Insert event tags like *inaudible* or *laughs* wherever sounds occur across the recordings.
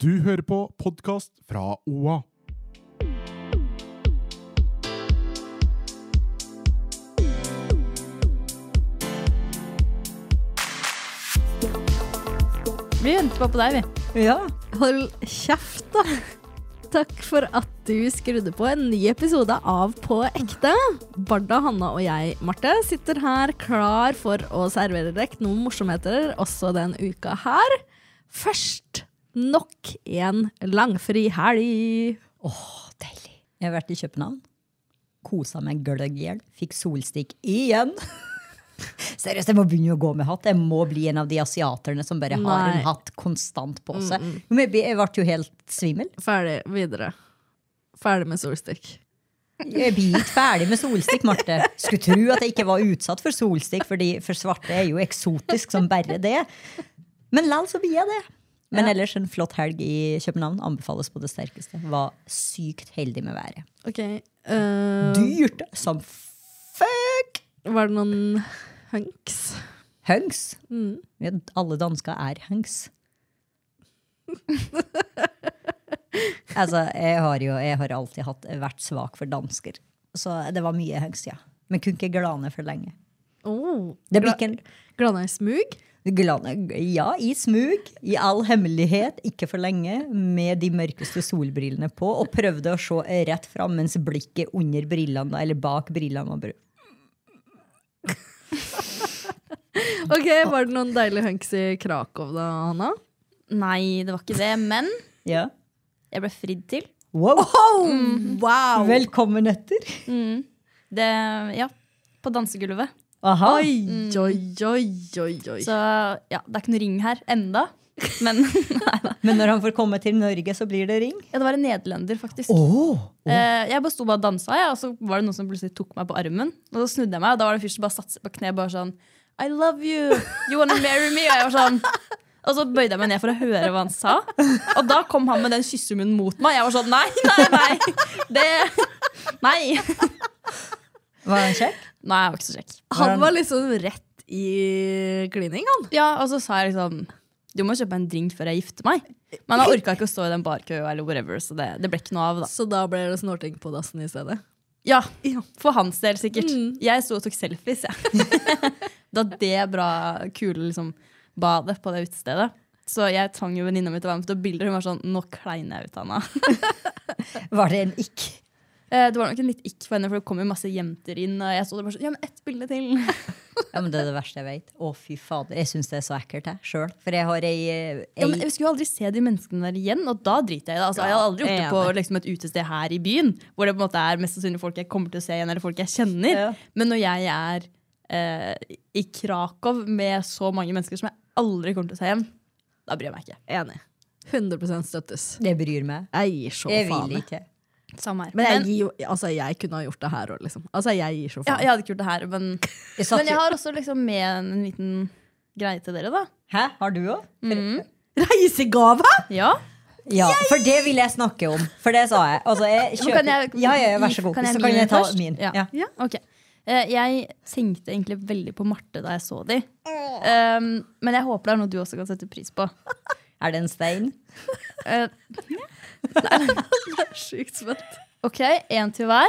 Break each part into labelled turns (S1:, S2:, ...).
S1: Du hører på podkast fra OA.
S2: Vi venter bare på deg, vi.
S3: Ja.
S2: Hold kjeft, da. Takk for at du skrudde på en ny episode av På ekte. Barda, Hanna og jeg, Marte, sitter her klar for å servere dere noen morsomheter også den uka her. Først nok en langfri helg.
S3: Åh, deilig. Jeg har vært i København. Kosa meg gløgg i hjel. Fikk solstikk igjen. *laughs* Seriøst, jeg må begynne å gå med hatt. Jeg må bli en av de asiaterne som bare har
S2: Nei.
S3: en hatt konstant på seg. Men jeg ble- jeg ble jo helt svimmel.
S2: Ferdig videre. Ferdig med solstikk.
S3: Jeg blir ikke ferdig med solstikk, Marte. Skulle tro at jeg ikke var utsatt for solstikk, fordi for svarte er jo eksotisk som bare det. Men likevel så blir jeg det. Men ellers en flott helg i København. Anbefales på det sterkeste. Var sykt heldig med været.
S2: Ok. eh,
S3: Dyrt som fuck!
S2: var det noen hunks?
S3: Hunks.
S2: Mm.
S3: Ja, alle dansker er
S2: *laughs*
S3: hunks. altså, jeg har jo jeg har alltid hatt, vært svak for dansker. Så det var mye hunks, ja. Men kunne ikke glane for lenge.
S2: Oh,
S3: Det blir ikke en
S2: Glana i smug?
S3: glane, Ja, i smug, i all hemmelighet, ikke for lenge, med de mørkeste solbrillene på, og prøvde å se rett fram mens blikket under brillene, eller bak brillene, var brukt.
S2: Ok, Var det noen deilige hunks i Krakow da, Hanna?
S4: Nei, det var ikke det. Men
S3: Ja.
S4: jeg ble fridd til.
S3: Wow!
S2: Oh, Wow!
S3: Velkommen etter.
S4: Det, ja, på dansegulvet.
S3: Aha.
S2: Oi, oi, oi, oi, oi.
S4: Så ja, det er ikke noe ring her enda. Men *laughs* ja,
S3: Men når han får komme til Norge, så blir det ring?
S4: det var en nederlender, faktisk. Eh, Jeg bare sto bare og dansa, jeg, og så var det noen som plutselig tok meg på armen. Og så snudde jeg meg, og da var det en fyr som bare satte seg på kne bare sånn I love you! You wanna marry me? Og jeg var sånn og så bøyde jeg meg ned for å høre hva han sa. Og da kom han med den kyssemunnen mot meg. Jeg var sånn nei, nei, nei! Det Nei.
S3: Var han kjekk?
S4: Nei, jeg var ikke så kjekk.
S2: Han var liksom rett i klining, han.
S4: Ja, og så sa jeg liksom Du må kjøpe meg en drink før jeg gifter meg. Men jeg orka ikke å stå i den barkøa eller whatever, så det, det ble ikke noe av, da.
S2: Så da ble det snorting på dassen i stedet.
S4: Ja, For hans del, sikkert. Jeg sto og tok selfies, jeg. *laughs* da det bra, kule liksom, badet på det utestedet. Så jeg tvang jo venninna mi til å være med på bilder. Hun var sånn Nå kleiner jeg ut Anna. *laughs*
S3: Var det en ikk?
S4: Eh, Det var nok en litt ikk for henne, for det kom jo masse jenter inn. Og jeg så det bare sånn Ja, men ett bilde til.
S3: Ja, men Det er det verste jeg vet. Å, fy fader. Jeg syns det er så ekkelt, jeg sjøl. For jeg har ei, eh,
S4: Ja, men
S3: ei
S4: jeg skulle jo aldri se de menneskene der igjen, og da driter jeg i det. Altså, jeg hadde aldri gjort det på liksom, et utested her i byen, hvor det på en måte er mest sannsynlig folk jeg kommer til å se igjen, eller folk jeg kjenner.
S3: Ja.
S4: Men når jeg er eh, i Krakow med så mange mennesker som jeg aldri kommer til å se igjen, da bryr jeg meg ikke.
S2: Enig. 100 støttes.
S3: Det bryr meg.
S2: Jeg gir så
S3: Jeg
S2: faen.
S3: vil
S2: jeg.
S3: ikke.
S4: Samme her.
S2: Men jeg,
S4: Men-
S2: gir jo, altså, jeg kunne ha gjort det her òg, liksom. Altså, jeg gir så
S4: ja,
S2: faen.
S4: jeg hadde ikke gjort det her, men,
S3: Jeg satt
S4: men jeg
S3: jo-
S4: har også liksom med en liten greie til dere, da.
S3: Hæ, har du òg?
S2: Reisegave?!
S4: Ja.
S3: Ja, for det vil jeg snakke om. For det sa jeg. Altså, jeg
S4: Men kan jeg-
S3: ja, ja, ja, vær så god.
S4: Kan jeg,
S3: så kan jeg ta
S4: først?
S3: min.
S4: Ja.
S3: Ja.
S4: ok. Eh, Jeg tenkte egentlig veldig på Marte da jeg så de. Um, men jeg håper det er noe du også kan sette pris på.
S3: Er det en stein?
S4: Eh,
S2: Sjukt spent.
S4: ok, én til hver.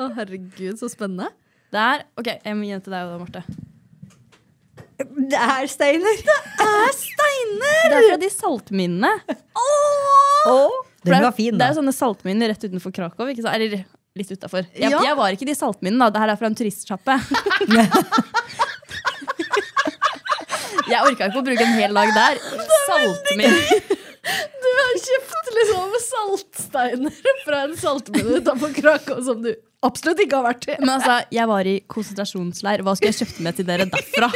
S2: Å, herregud, så spennende.
S4: Der. Ok, jeg må gi den til deg da, Marte.
S3: Det er steiner! Det er steiner!
S4: Det er fra de saltminnene. For
S3: Den
S4: det er-
S3: var fin,
S4: Det
S3: da.
S4: er jo sånne saltminner rett utenfor Krakow. Ikke sant? Eller litt utafor. Jeg,
S2: Ja.
S4: jeg var ikke i de saltminnene, da. Det her er fra
S3: *laughs*
S4: en turistsjappe. jeg orka ikke å bruke en hel dag der. Saltminn.
S2: Du har kjøpt liksom saltsteiner *laughs* fra en saltmine utenfor Krakow som du absolutt ikke har vært i.
S4: Men altså, jeg var i konsentrasjonsleir. Hva skulle jeg kjøpt med til dere derfra?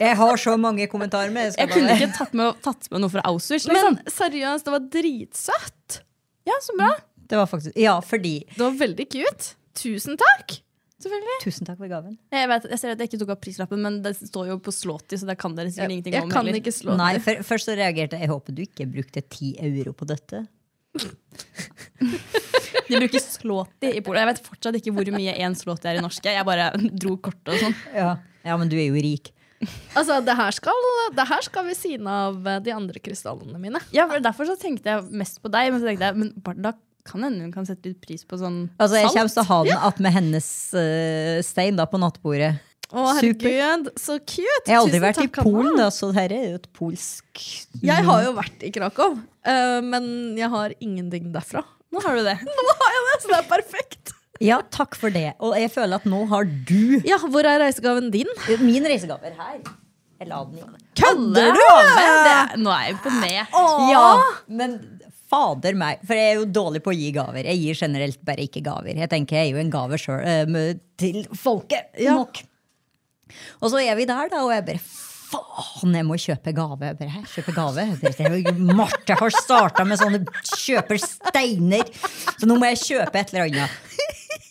S3: Jeg har så mange kommentarer med.
S4: Jeg kunne ikke tatt med, tatt med noe fra Auschwitz. Liksom.
S2: Men seriøst, det var dritsøtt!
S4: Ja, så bra.
S3: Det var faktisk, ja, fordi
S2: Det var veldig cute. Tusen takk! Selvfølgelig.
S3: Tusen takk for gaven.
S4: Jeg, vet, jeg ser at jeg ikke tok av prislappen, men det står jo på Slåti, så der kan dere sikkert
S2: Jeg,
S4: ingenting
S2: jeg
S4: om.
S2: kan
S4: heller.
S2: ikke slå
S3: Nei,
S2: det.
S3: for, først så reagerte jeg. Jeg håper du ikke brukte ti euro på dette.
S4: De bruker Slåti i Polen. Jeg vet fortsatt ikke hvor mye én Slåti er i norske. Jeg bare dro kortet og sånn.
S3: Ja, ja men du er jo rik.
S2: Altså, det her skal, det her skal ved siden av eh, de andre krystallene mine.
S4: Ja, for Derfor så tenkte jeg mest på deg, men så tenkte jeg, men Barda kan hende hun kan sette litt pris på sånn
S3: Altså, jeg
S4: salt.
S3: kommer til å ha den att med hennes eh, stein da, på nattbordet.
S2: Å,
S3: Super.
S2: herregud, så cute!
S3: Jeg har aldri
S2: Tusen
S3: vært i
S2: takk, Hanna.
S3: Polen, da, så dette er jo et polsk
S2: Jeg har jo vært i Krakow, eh, men jeg har ingenting derfra.
S4: Nå har du det.
S2: *laughs* Nå har jeg det, så det er perfekt!
S3: Ja, takk for det. Og jeg føler at nå har du
S2: Ja, hvor er reisegaven din?
S3: min reisegaver her. Jeg la den i.
S4: Kødder du?! Det, er- nå er jeg imponert.
S3: Ja, men fader meg. For jeg er jo dårlig på å gi gaver. Jeg gir generelt bare ikke gaver. Jeg tenker jeg er jo en gave sjøl eh, til folket. Nok. Og så er vi der, da, og jeg bare faen, jeg må kjøpe gave. Jeg bare, Hæ, kjøpe gave? Jeg bare, det er jo- Marte har starta med sånne kjøper steiner, så nå må jeg kjøpe et eller annet.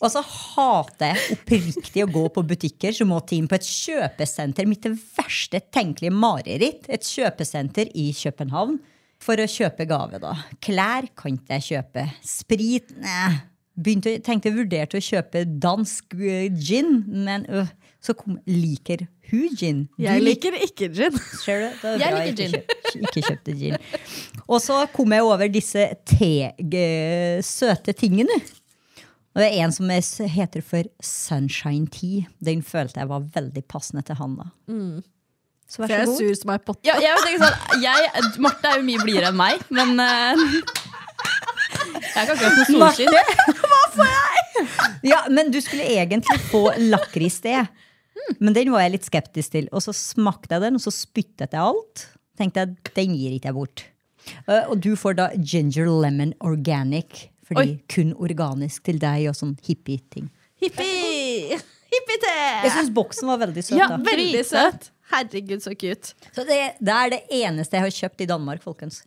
S3: Og så hater jeg oppriktig å gå på butikker som må inn på et kjøpesenter. Mitt verste tenkelige mareritt. Et kjøpesenter i København. For å kjøpe gave, da. Klær kan ikke jeg kjøpe. Sprit? Nei. Begynte, å- tenkte vurderte å kjøpe dansk øh, gin, men øh, så kom Liker hun gin? Du
S2: Jeg liker ikke gin.
S3: Ser du? Det er bra
S4: Jeg liker gin.
S3: Ikke, kjøp, ikke kjøpte gin. Og så kom jeg over disse te, g- søte tingene. Og det er en som er, s- heter for Sunshine Tea. Den følte jeg var veldig passende til han. da.
S4: Mm.
S3: Så
S2: For
S3: vær så
S2: jeg er
S3: god.
S2: sur som ei potte.
S4: Ja, jeg tenker sånn, jeg, Marte er jo mye blidere enn meg, men eh, Jeg har ikke akkurat noe solskinn.
S3: Ja, men du skulle egentlig få lakris det. Men den var jeg litt skeptisk til. Og så smakte jeg den, og så spyttet jeg alt. Tenkte jeg, den gir ikke jeg bort. Eh, Og du får da ginger lemon organic. Fordi
S4: Oi.
S3: kun organisk til deg og sånn hippie-ting.
S2: Hippie! Hippie-te!
S3: Jeg syns boksen var veldig søt.
S2: Ja,
S3: da.
S2: veldig søt. Herregud, så cute.
S3: Så det, det er det eneste jeg har kjøpt i Danmark, folkens.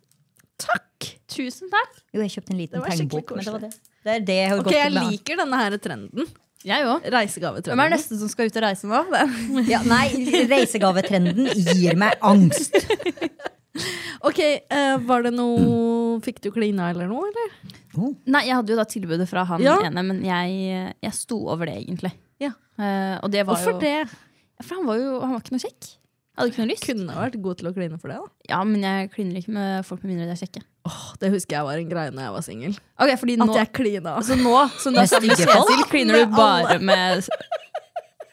S2: Takk!
S4: Tusen takk.
S3: Jo, jeg kjøpte en liten
S2: var
S3: pengebok,
S2: skikkelig
S3: men det var
S2: koselig.
S3: det. Det er det jeg har
S2: Ok, jeg
S3: gått med.
S2: liker denne her trenden.
S4: Jeg òg. Hvem er
S2: Reisegavetrenden.
S4: neste som skal ut og reise nå?
S2: *laughs*
S3: Ja, nei, reisegavetrenden gir meg angst.
S2: Ok, eh, var det noe Fikk du klina eller noe, eller?
S4: Nei, jeg hadde jo da tilbudet fra han
S2: Ja.
S4: ene, men jeg, jeg sto over det, egentlig.
S2: Ja.
S4: Eh, og det var
S2: Hvorfor
S4: jo,
S2: det?
S4: For han var jo han var ikke noe kjekk. Jeg hadde ikke noe lyst.
S2: Kunne vært god til å kline for det. da
S4: Ja, men jeg kliner ikke med folk med mindre de er kjekke.
S2: Det husker jeg var en greie når jeg var singel.
S4: Ok, fordi nå,
S2: At
S4: *laughs*
S2: jeg klina.
S4: altså nå som du er
S3: Med
S4: sammen med
S3: stygge folk?
S4: Kjetil, kliner du
S2: Med
S4: bare med
S2: *laughs*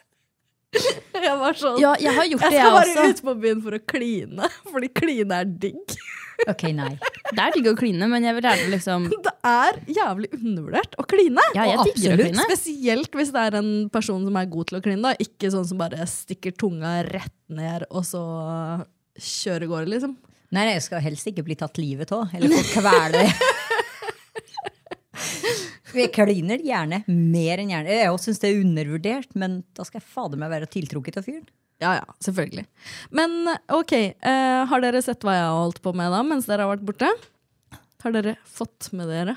S2: Jeg var sånn
S4: Ja, jeg har gjort
S2: Jeg
S4: det,
S2: skal
S4: jeg
S2: bare
S4: også.
S2: ut på byen for å kline, *laughs* fordi kline er digg.
S3: Ok, nei.
S4: Det er digg å kline, men jeg vil gjerne liksom
S2: *laughs* Det er jævlig undervurdert å kline.
S4: Ja, jeg
S3: Og
S4: digger å
S3: absolutt.
S4: kline.
S2: Spesielt hvis det er en person som er god til å kline. Da. Ikke sånn som bare stikker tunga rett ned og så kjører i gårde, liksom.
S3: Nei, nei, jeg skal helst ikke bli tatt livet av, eller få kvele det. Jeg kliner gjerne, mer enn gjerne. Jeg syns det er undervurdert, men da skal jeg fader meg være tiltrukket av fyren.
S2: Ja, ja, selvfølgelig. Men ok, eh, har dere sett hva jeg har holdt på med da, mens dere har vært borte? Har dere fått med dere?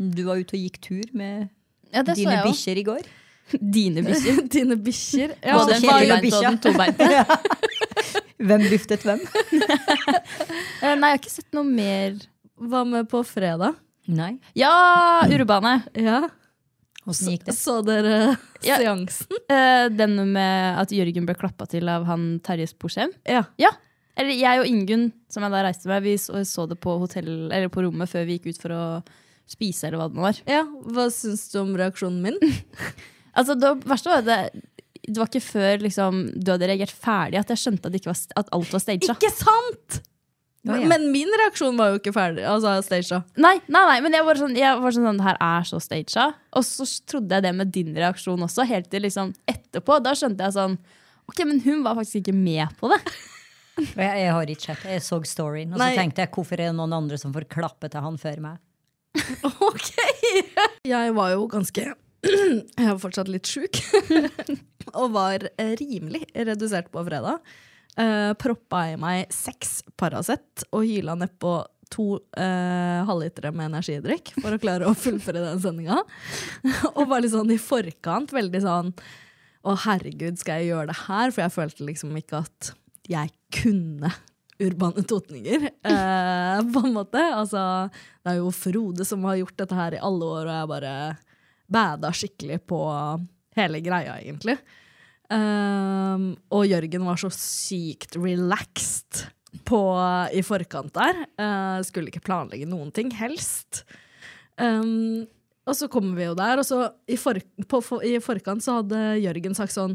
S3: Du var ute og gikk tur med
S4: Ja, det så
S3: dine
S4: jeg òg.
S3: bikkjer i går.
S2: *laughs*
S4: Dine bikkjer.
S2: Dine
S4: *laughs*
S2: bikkjer?
S4: Ja,
S2: Ja,
S3: Og så
S4: den
S3: kjedelig med
S4: firbeinte og den
S2: *laughs*
S4: tobeinte.
S3: Hvem luftet hvem?
S4: Eh, Nei, jeg har ikke sett noe mer
S2: var med på fredag.
S3: Nei.
S4: Ja, Urbane.
S2: Ja,
S3: Åssen gikk det?
S2: Så dere
S4: Ja.
S2: seansen?
S4: Eh, Den med at Jørgen ble klappa til av han Terje Sporsem.
S2: Ja.
S4: Ja. Eller jeg og Ingunn, som jeg da reiste med, vi så, så det på, hotell, eller på rommet før vi gikk ut for å spise, eller hva det nå var.
S2: ja. Hva syns du om reaksjonen *laughs* min?
S4: Altså, det verste var at det, det var ikke før liksom, du hadde reagert ferdig at jeg skjønte at, det ikke var, st- at alt var staged.
S2: Ikke sant?!
S3: Å, ja.
S2: Men min reaksjon var jo ikke ferdig. Altså, staged.
S4: Nei, nei, nei, men jeg var sånn, jeg var sånn, det her er så staged. Og så trodde jeg det med din reaksjon også, helt til liksom etterpå. Da skjønte jeg sånn Ok, men hun var faktisk ikke med på det.
S3: Jeg, jeg har ikke sett det. Jeg så storyen, og
S2: Nei.
S3: så tenkte jeg hvorfor er det noen andre som får klappe til han før meg?
S2: *laughs* Ok! Jeg var jo ganske *clears throat* *laughs* Jeg var fortsatt litt sjuk. og var eh, rimelig redusert på fredag.
S4: eh, proppa i meg seks Paracet og hyla nedpå to eh, halvlitere med energidrikk for å klare å fullføre den sendinga. *laughs* og var litt sånn i forkant veldig sånn Å, herregud, skal jeg gjøre det her? For jeg følte liksom ikke at jeg kunne urbane totninger, eh, *laughs* på en måte. Altså, det er jo Frode som har gjort dette her i alle år, og jeg bare bada skikkelig på hele greia, egentlig. Ehm, og Jørgen var så sykt relaxed på, i forkant der. Eh, skulle ikke planlegge noen ting, helst. Ehm, og så kommer vi jo der, og så i, for, på, for, i forkant så hadde Jørgen sagt sånn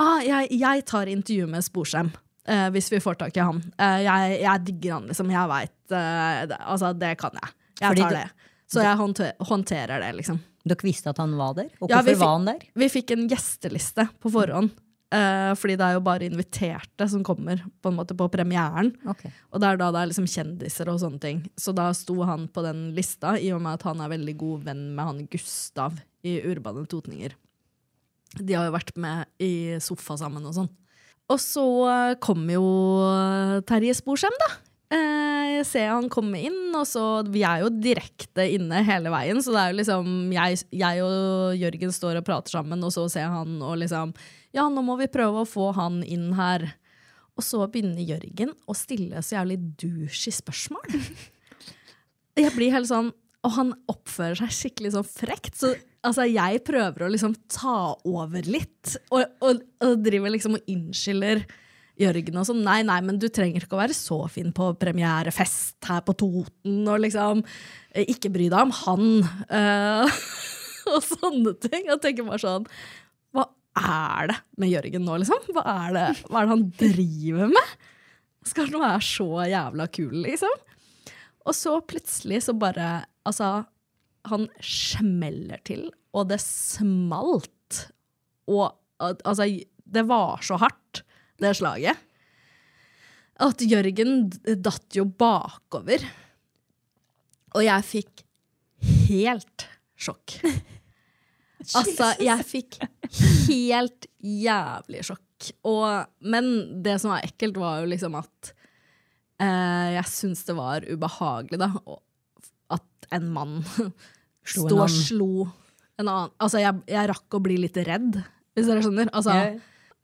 S4: ah, jeg, jeg tar intervju med Sporsem. eh, hvis vi får tak i han. Eh, jeg, jeg digger han, liksom. Jeg veit det, Altså, det kan jeg. Jeg
S3: Fordi
S4: tar
S3: det-
S4: det. Så jeg håndte- håndterer det, liksom.
S3: Dere visste at han var der? Og
S4: Ja, vi
S3: hvorfor
S4: fikk-
S3: var han der?
S4: Vi fikk en gjesteliste på forhånd. eh, fordi det er jo bare inviterte som kommer på, en måte, på premieren.
S3: Ok.
S4: Og det er da det er liksom kjendiser og sånne ting. Så da sto han på den lista, i og med at han er veldig god venn med han Gustav i Urbane Totninger. De har jo vært med i sofa sammen og sånn. Og så eh, kom jo Terje Sporsem, da. Eh, Jeg ser han komme inn, og så Vi er jo direkte inne hele veien, så det er jo liksom Jeg, jeg og Jørgen står og prater sammen, og så ser han og liksom Ja, nå må vi prøve å få han inn her. Og så begynner Jørgen å stille så jævlig douche spørsmål. Jeg blir helt sånn Og han oppfører seg skikkelig sånn frekt. Så altså, jeg prøver å liksom ta over litt, og, og, og driver liksom og unnskylder. Jørgen og sånn, nei, nei, men du trenger ikke å være så fin på premierefest her på Toten, og liksom, eh, ikke bry deg om han, eh, *laughs* og sånne ting. Jeg tenker bare sånn, hva er det med Jørgen nå, liksom? Hva er det, hva er det han driver med? Skal han være så jævla kul, liksom? Og så plutselig så bare Altså, han smeller til, og det smalt. Og at- altså, det var så hardt, det slaget. At Jørgen d- datt jo bakover. Og jeg fikk helt
S3: *laughs*
S4: sjokk. Altså, jeg fikk helt jævlig sjokk. Og, men det som var ekkelt, var jo liksom at eh, jeg syns det var ubehagelig, da. Og at en mann
S3: Slo en
S4: sto og
S3: annen.
S4: slo en annen Altså, jeg, jeg rakk å bli litt redd, hvis dere skjønner. Altså,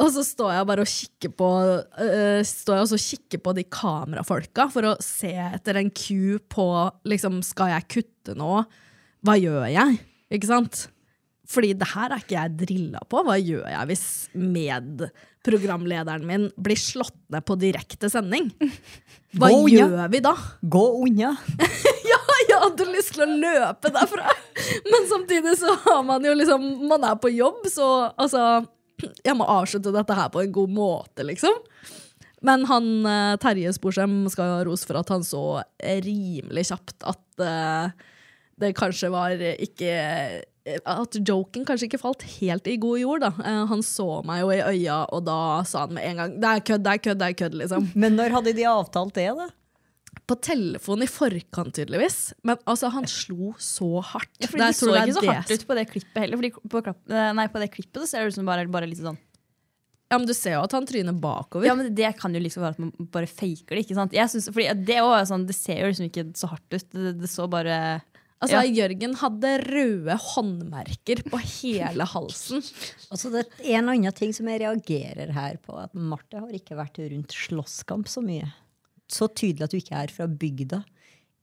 S4: og så står jeg bare og kikker på øh, Står jeg også og kikker på de kamerafolka for å se etter en cue på liksom, Skal jeg kutte nå? Hva gjør jeg? Ikke sant? Fordi det her er ikke jeg drilla på. Hva gjør jeg hvis medprogramlederen min blir slått ned på direkte sending? Hva
S3: Gå unna.
S4: gjør vi da?
S3: Gå unna!
S4: Ja, *laughs* jeg hadde lyst til å løpe derfra! Men samtidig så har man jo liksom Man er på jobb, så altså Jeg må avslutte dette her på en god måte, liksom. Men han eh, Terje Sporsem skal jo ha ros for at han så eh, rimelig kjapt at eh, det kanskje var ikke eh, At joken kanskje ikke falt helt i god jord, da. Eh, han så meg jo i øya, og da sa han med en gang 'det er kødd, det er kødd', det er kødd, liksom
S3: Men når hadde de avtalt det, da?
S4: på telefon i forkant, tydeligvis. Men altså, han slo så hardt.
S2: Ja, fordi
S4: Det er-
S2: det
S4: tror
S2: så
S4: jeg
S2: ikke så
S4: det-
S2: hardt ut på det klippet heller. Fordi på, klapp- eh, nei, på det klippet så ser det ut som bare, bare litt sånn
S4: Ja, men Du ser jo at han tryner bakover.
S2: Ja, men Det kan jo liksom være at man bare faker det. ikke sant? Jeg synes, fordi det, også er sånn, det ser jo liksom ikke så hardt ut. Det, det så bare
S4: altså, Jørgen hadde røde håndmerker på hele halsen.
S3: Altså, det er en annen ting som jeg reagerer her på, at Marte har ikke vært rundt slåsskamp så mye. Så tydelig at du ikke er fra bygda.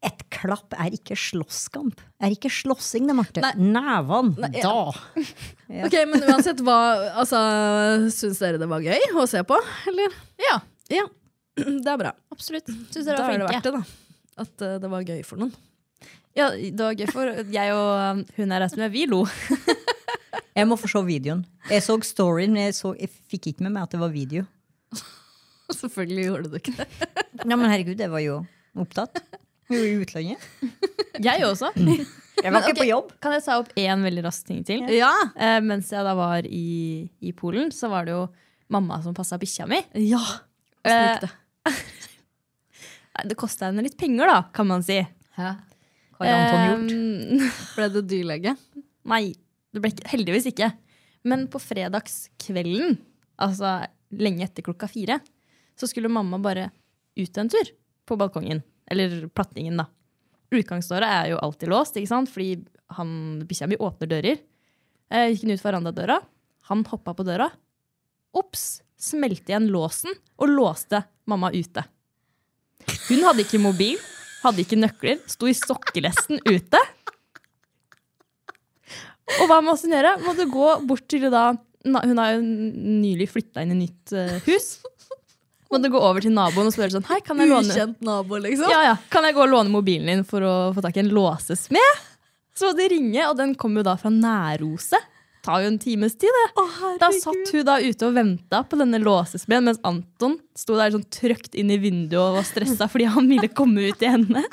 S3: Et klapp er ikke slåsskamp. Er ikke slåssing, det, Marte.
S4: Nei.
S3: Nevene,
S4: Nei, ja.
S3: da!
S4: Ok, Men uansett, hva altså, syns dere det var gøy å se på? Eller?
S2: Ja,
S4: Ja. *clears throat* Det er bra.
S2: absolutt. Syns
S4: Da
S2: dere
S4: er
S2: var
S4: det
S2: flinke.
S4: verdt det, da. At eh, det var gøy for noen.
S2: Ja, det var gøy for jeg og um, hun jeg reiste med, vi lo. *laughs*
S3: Jeg må få se videoen. Jeg så storyen, men jeg, så, jeg fikk ikke med meg at det var video.
S4: Selvfølgelig gjorde du ikke det.
S3: Nei, men herregud, jeg var jo opptatt. Jeg var i utlandet.
S2: Jeg også.
S3: Jeg var ikke på jobb.
S2: *clears throat* Kan jeg ta opp én veldig rask ting til?
S4: Ja!
S2: Eh, mens jeg da var i, i Polen, så var det jo mamma som passa bikkja mi.
S4: Ja!
S2: Eh, *laughs* Nei, Det kosta henne litt penger, da, kan man si.
S3: Har Anton gjort?
S2: Eh,
S5: *laughs*
S4: Ble det dyrlege?
S2: Nei, det ble ikke, heldigvis ikke. Men på fredagskvelden, altså lenge etter klokka fire,
S5: så skulle mamma bare ut en tur på balkongen. Eller plattingen, da. Utgangsdøra er jo alltid låst, ikke sant? fordi han- bikkja mi åpner dører. Eh, gikk hun ut verandadøra, han hoppa på døra. Ops! Smelte igjen låsen og låste mamma ute. Hun hadde ikke mobil, hadde ikke nøkler, sto i sokkelesten ute. Og hva må hun gjøre? Måtte gå bort til da na- Hun har jo nylig flytta inn i nytt eh, *laughs* hus. Måtte gå over til naboen og spørre sånn Hei, kan jeg låne
S2: Ukjent nabo, liksom.
S5: ja, ja. Kan jeg gå og låne mobilen din for å få tak i en låsesmed? Så måtte jeg ringe, og den kom jo da fra Nærose. Tar jo en times tid, det. da satt hun da ute og venta på denne låsesmeden, mens Anton sto der sånn trøkt inn i vinduet og var stressa fordi han ville komme ut til *laughs* henne.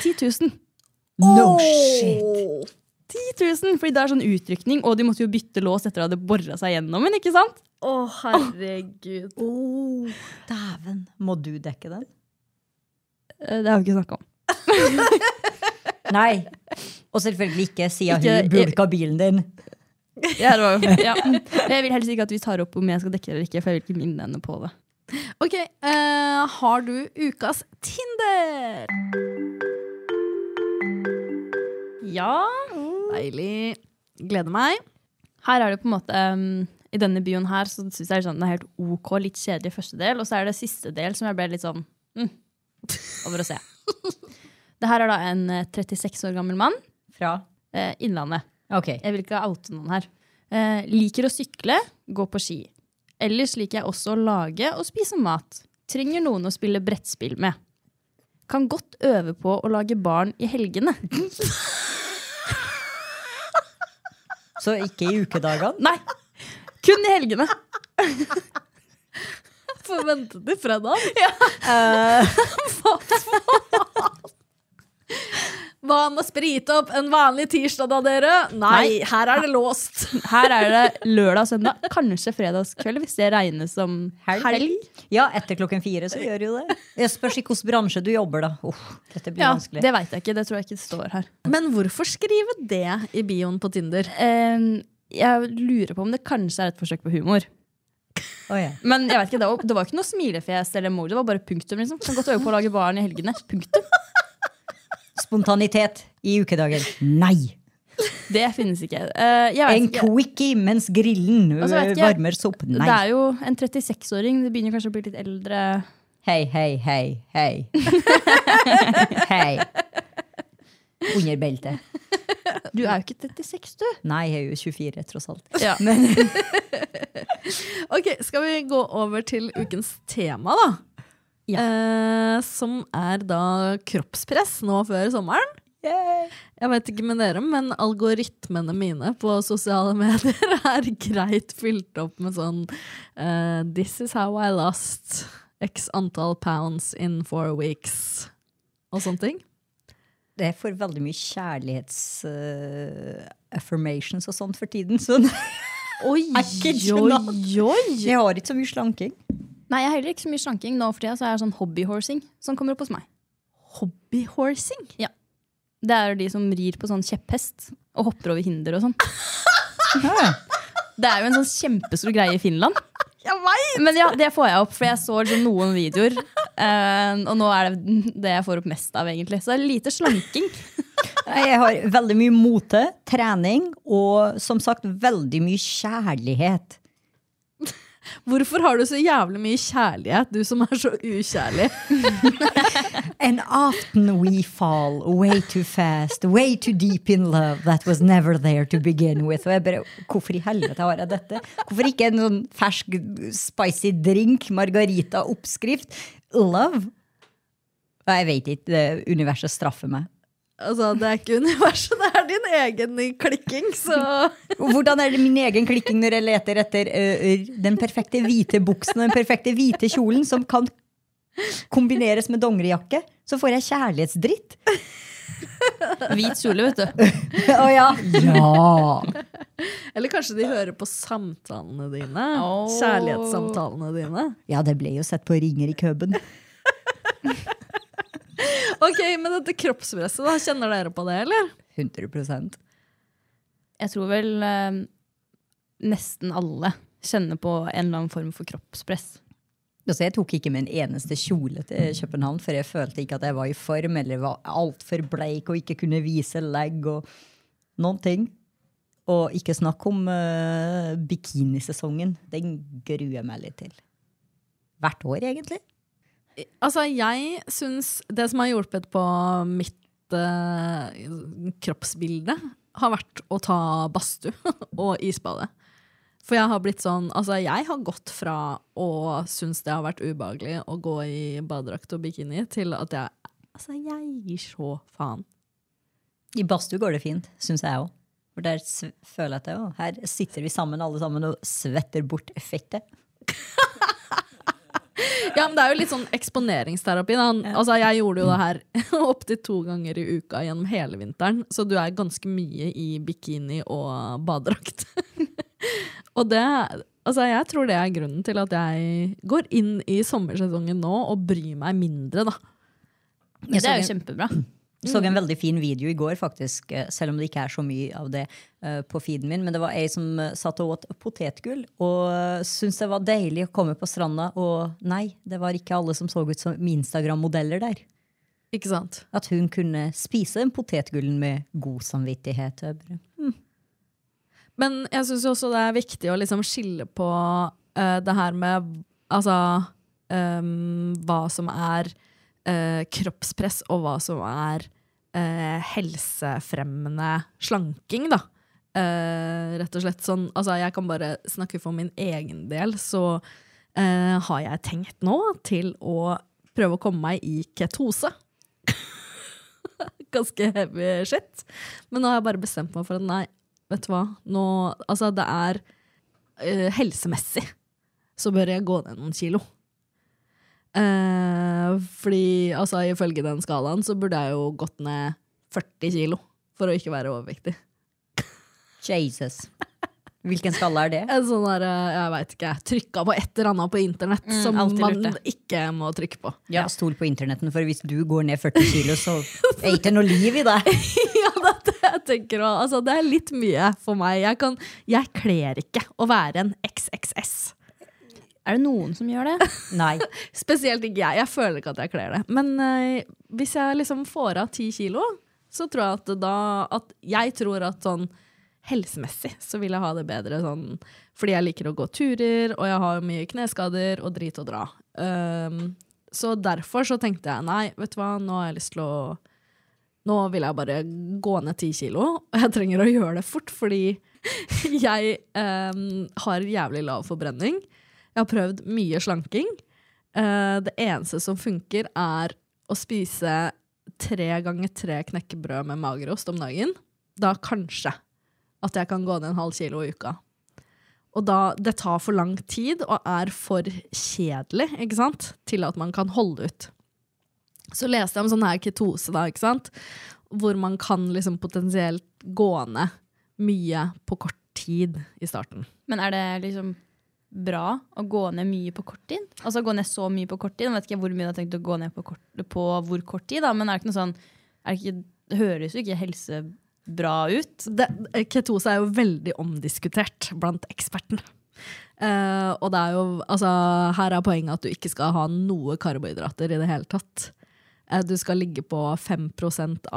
S5: 10 000.
S4: No shit!
S5: 10 000, fordi det er sånn utrykning, og de måtte jo bytte lås etter at de hadde bora seg gjennom den. ikke sant?
S2: Å, herregud.
S4: Ehm.
S3: Dæven, må du dekke den?
S5: Eh, Det har vi ikke snakka om.
S3: Nei. Og selvfølgelig ikke, siden
S5: Ikke-
S3: hun bulka bilen din.
S5: Ja, det var jo, *laughs* ja. Jeg vil helst ikke at vi tar opp om jeg skal dekke det eller ikke, for jeg vil ikke minne henne på det.
S2: Ok, eh, har du ukas Tinder?
S5: Ja,
S2: Deilig. Gleder meg.
S5: her er det på en måte um, I denne bioen her så syns jeg sånn, den er helt ok, litt kjedelig første del. Og så er det siste del som jeg ble litt sånn mm, over *laughs* å se. Det her er da en eh, 36 år gammel mann.
S3: Fra?
S5: Eh, innlandet.
S3: Ok.
S5: Jeg vil ikke oute noen her. Eh, liker å sykle, gå på ski. Ellers liker jeg også å lage og spise mat. Trenger noen å spille brettspill med. Kan godt øve på å lage barn i helgene. *laughs*
S3: Så ikke i ukedagene?
S5: Nei! Kun i helgene.
S2: Forventet Eh. det fra *laughs* da. *laughs* Hva med å sprite opp en vanlig tirsdag, da, dere? Nei, her er det låst.
S5: Her er det lørdag, søndag, kanskje fredagskveld, hvis det regnes som helg.
S3: Ja, etter klokken fire så gjør jo det. Jeg spørs ikke hvilken bransje du jobber, da. Uff, dette blir
S5: Ja,
S3: vanskelig.
S5: det veit jeg ikke. Det tror jeg ikke står her.
S2: Men hvorfor skrive det i bioen på Tinder?
S5: Eh, jeg lurer på om det kanskje er et forsøk på humor.
S3: Å, ja.
S5: Men jeg vet ikke, det var, det var ikke noe smilefjes eller emoji. Det var bare punktum. liksom. Kan godt øve på å lage barn i helgene. Punktum.
S3: Spontanitet i ukedagen. Nei!
S5: Det finnes ikke. Eh, jeg vet
S3: En
S5: ikke.
S3: quickie mens grillen
S5: Og så vet ikke jeg-
S3: varmer seg opp.
S5: Det
S3: Nei.
S5: er jo en 36-åring. Det begynner kanskje å bli litt eldre.
S3: Hei, hei, hei, hei.
S5: *laughs*
S3: hei. Under beltet.
S5: Du er jo ikke 36, du.
S3: Nei, jeg er jo 24, tross alt.
S5: Ja.
S3: Men
S2: Ok, Skal vi gå over til ukens tema, da? Eh, som er da kroppspress nå før sommeren. Jeg vet ikke med dere, men algoritmene mine på sosiale *laughs* medier er greit fylt opp med sånn eh, This is how I lost x antall pounds in four weeks. Og sånne ting.
S3: det får veldig mye kjærlighets-affirmations og sånt for tiden. Så *laughs* jeg
S5: Oi,
S3: ikke
S5: oi, oi.
S3: har ikke så mye slanking.
S5: Nei, jeg er heller ikke så mye slanking. Nå for tida så er jeg sånn hobbyhorsing som kommer opp hos meg.
S2: Hobbyhorsing?
S5: Ja. Det er jo de som rir på sånn kjepphest og hopper over hinder og sånn. Det er jo en sånn kjempestor greie i
S3: *laughs*
S5: Finland. Men ja, det får jeg opp, for jeg så liksom noen videoer. eh, og nå er det det jeg får opp mest av, egentlig. Så det er lite slanking.
S3: Nei, Jeg har veldig mye mote, trening og som sagt veldig mye kjærlighet.
S2: Hvorfor har du så jævlig mye kjærlighet, du som er så ukjærlig?
S3: An aften we fall, way too fast, way too deep in love that was never there to begin with. Og jeg bare, Hvorfor i helvete har jeg dette? Hvorfor ikke en sånn fersk, spicy drink, margarita-oppskrift? Love? Nei, Jeg vet ikke. det- Universet straffer meg.
S2: Altså, Det er ikke universet, det er din egen klikking, så
S5: *laughs*
S3: Hvordan er det min egen klikking når jeg leter etter ø, ø, den perfekte hvite buksen og den perfekte hvite kjolen som kan kombineres med dongerijakke? Så får jeg kjærlighetsdritt.
S5: Hvit kjole, vet du.
S3: Å ja. ja!
S2: Eller kanskje de hører på samtalene dine?
S5: Åh.
S2: Kjærlighetssamtalene dine?
S3: Ja, det ble jo sett på ringer i køben. *laughs*
S2: Ok, men dette kroppspresset, da, kjenner dere på det, eller?
S3: 100
S5: Jeg tror vel eh, nesten alle kjenner på en eller annen form for kroppspress.
S3: Altså, jeg tok ikke med en eneste kjole til København, for jeg følte ikke at jeg var i form eller var altfor bleik og ikke kunne vise legg og noen ting. Og ikke snakk om eh, bikinisesongen. Den gruer jeg meg litt til. Hvert år, egentlig.
S2: Altså, jeg syns det som har hjulpet på mitt eh, kroppsbilde, har vært å ta badstue *laughs* og isbade. For jeg har blitt sånn Altså, jeg har gått fra å synes det har vært ubehagelig å gå i badedrakt og bikini, til at jeg Altså, jeg gir så faen.
S3: I badstue går det fint, syns jeg òg. For der s- føler jeg at jeg, «Å, her sitter vi sammen alle sammen og svetter bort fettet.
S2: Ja, men det er jo litt sånn eksponeringsterapi. Da. Altså, jeg gjorde jo det her *laughs* opptil to ganger i uka gjennom hele vinteren, så du er ganske mye i bikini og badedrakt. *laughs* og det Altså, jeg tror det er grunnen til at jeg går inn i sommersesongen nå og bryr meg mindre, da.
S3: Jeg
S5: Det
S3: så
S5: er jo
S3: en-
S5: kjempebra.
S3: så en veldig fin video i går, faktisk, eh, selv om det ikke er så mye av det eh, på feeden min. Men det var ei som eh, satt og åt potetgull og eh, syntes det var deilig å komme på stranda. Og nei, det var ikke alle som så ut som Instagram-modeller der.
S2: Ikke sant?
S3: At hun kunne spise den potetgullen med god samvittighet. og jeg bare,
S2: Men jeg syns også det er viktig å liksom skille på eh, det her med altså ehm, hva som er eh, kroppspress, og hva som er eh, helsefremmende slanking, da. Eh, rett og slett sånn Altså, jeg kan bare snakke for min egen del, så eh, har jeg tenkt nå til å prøve å komme meg i ketose. *laughs* Ganske heavy shit. Men nå har jeg bare bestemt meg for at nei, vet du hva, nå, altså det er eh, helsemessig, så bør jeg gå ned noen kilo. Eh, fordi altså, ifølge den skalaen så burde jeg jo gått ned 40 kilo for å ikke være overvektig.
S3: Jesus. *laughs* Hvilken skalle er det?
S2: En sånn der, eh, jeg vet ikke, trykka på et eller annet på internett som
S5: Mm, alltid
S2: man
S5: lurt
S2: ikke må trykke på. *laughs*
S3: Ja. Stol på internetten, for hvis du går ned 40 kilo, så er ikke noe liv i deg.
S2: ja, det, er det, jeg tenker, også. altså, det er litt mye for meg. Jeg, kan, jeg kler ikke å være en XXS.
S5: Er det noen som gjør det?
S3: Nei.
S2: Spesielt ikke jeg. Jeg føler ikke at jeg kler det. Men eh, hvis jeg liksom får av ti kilo, så tror jeg at da at Jeg tror at sånn helsemessig så vil jeg ha det bedre sånn fordi jeg liker å gå turer, og jeg har mye kneskader og drit og dra. Ehm, så derfor så tenkte jeg nei, vet du hva, nå har jeg lyst til å nå vil jeg bare gå ned ti kilo, og jeg trenger å gjøre det fort, fordi *laughs* jeg ehm, har jævlig lav forbrenning. Jeg har prøvd mye slanking. Eh, det eneste som funker, er å spise tre ganger tre knekkebrød med magerost om dagen. Da kanskje at jeg kan gå ned en halv kilo i uka. Og da, det tar for lang tid og er for kjedelig ikke sant? til at man kan holde ut. Så leste jeg om sånn her ketose, da, ikke sant? hvor man kan liksom potensielt gå ned mye på kort tid i starten.
S5: Men er det liksom bra å gå ned mye på kort tid? Altså gå ned så mye på kort tid? Jeg vet ikke hvor mye du har tenkt å gå ned på, kort, på hvor kort tid, da, men er det ikke noe sånn er det, ikke, det høres jo ikke helsebra ut.
S2: det, ketose er jo veldig omdiskutert blant ekspertene. Eh, og det er jo, altså, her er poenget at du ikke skal ha noe karbohydrater i det hele tatt. Eh, du skal ligge på 5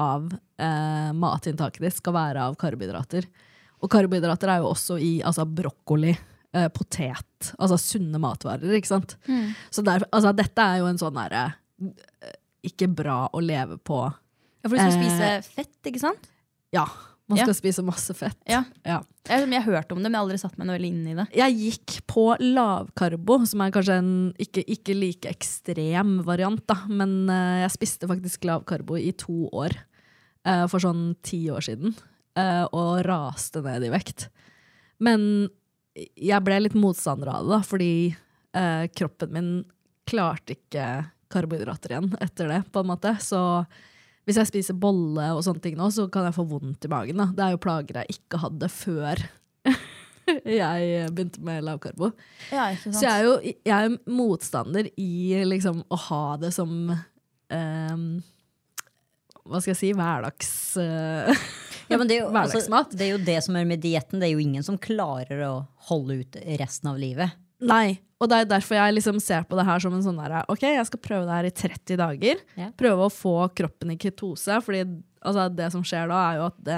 S2: av eh, matinntaket ditt skal være av karbohydrater. Og karbohydrater er jo også i altså, brokkoli, eh, potet, altså sunne matvarer. ikke sant?
S5: Mm.
S2: Så der, altså, dette er jo en sånn derre eh, ikke bra å leve på.
S5: Ja, For du skal
S2: Eh.
S5: spise fett, ikke sant?
S2: Ja, man
S5: Ja.
S2: skal spise masse fett.
S5: Ja.
S2: ja.
S5: Jeg, jeg har hørt om det, men jeg har aldri satt meg noe veldig inn i det.
S2: jeg gikk på lavkarbo, som er kanskje en ikke, ikke like ekstrem variant, da. men eh, jeg spiste faktisk lavkarbo i to år eh, for sånn ti år siden, eh, og raste ned i vekt. Men jeg ble litt motstander av det, da, fordi eh, kroppen min klarte ikke karbohydrater igjen etter det, på en måte. Så hvis jeg spiser bolle og sånne ting nå, så kan jeg få vondt i magen. Da. Det er jo plager jeg ikke hadde før jeg eh, begynte med lavkarbo.
S5: Ja, ikke
S2: Så jeg er jo jeg er jo motstander i liksom, å ha det som ehm, Hva skal jeg si? Hverdags... eh, *laughs*
S3: Ja, men det, er jo, altså,
S2: Hverdagsmat.
S3: det er jo det som er med dietten. Det er jo ingen som klarer å holde ut resten av livet.
S2: Nei, Og det er derfor jeg liksom ser på det her som en sånn der, ok, jeg skal prøve det her i 30 dager.
S3: Ja.
S2: Prøve å få kroppen i ketose, fordi altså, det som skjer da er jo at det,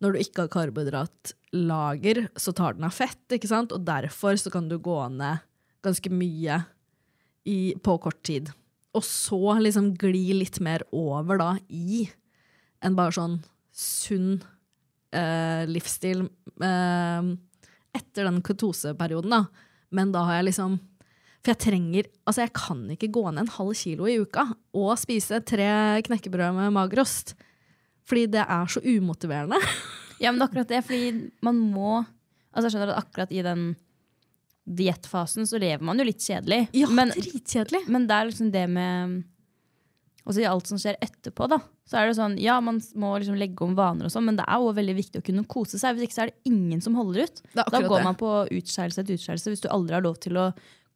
S2: når du ikke har karbohydratlager, så tar den av fett, ikke sant? Og derfor så kan du gå ned ganske mye i, på kort tid. Og så liksom gli litt mer over da i en bare sånn sunn eh, livsstil eh, etter den ketoseperioden, da. Men da har jeg liksom For jeg trenger Altså, jeg kan ikke gå ned en halv kilo i uka og spise tre knekkebrød med magerost. Fordi det er så umotiverende.
S5: Ja, men det er akkurat det, fordi man må Altså jeg skjønner at akkurat i den diettfasen så lever man jo litt kjedelig. men,
S2: dritkjedelig.
S5: men det er liksom det med Også i alt som skjer etterpå, da. Så er det sånn, ja, man må liksom legge om vaner og sånn, men det er jo veldig viktig å kunne kose seg. Hvis ikke så er det ingen som holder ut.
S2: Det er
S5: Da
S2: akkurat
S5: går
S2: det.
S5: man på utskeielse etter utskeielse hvis du aldri har lov til å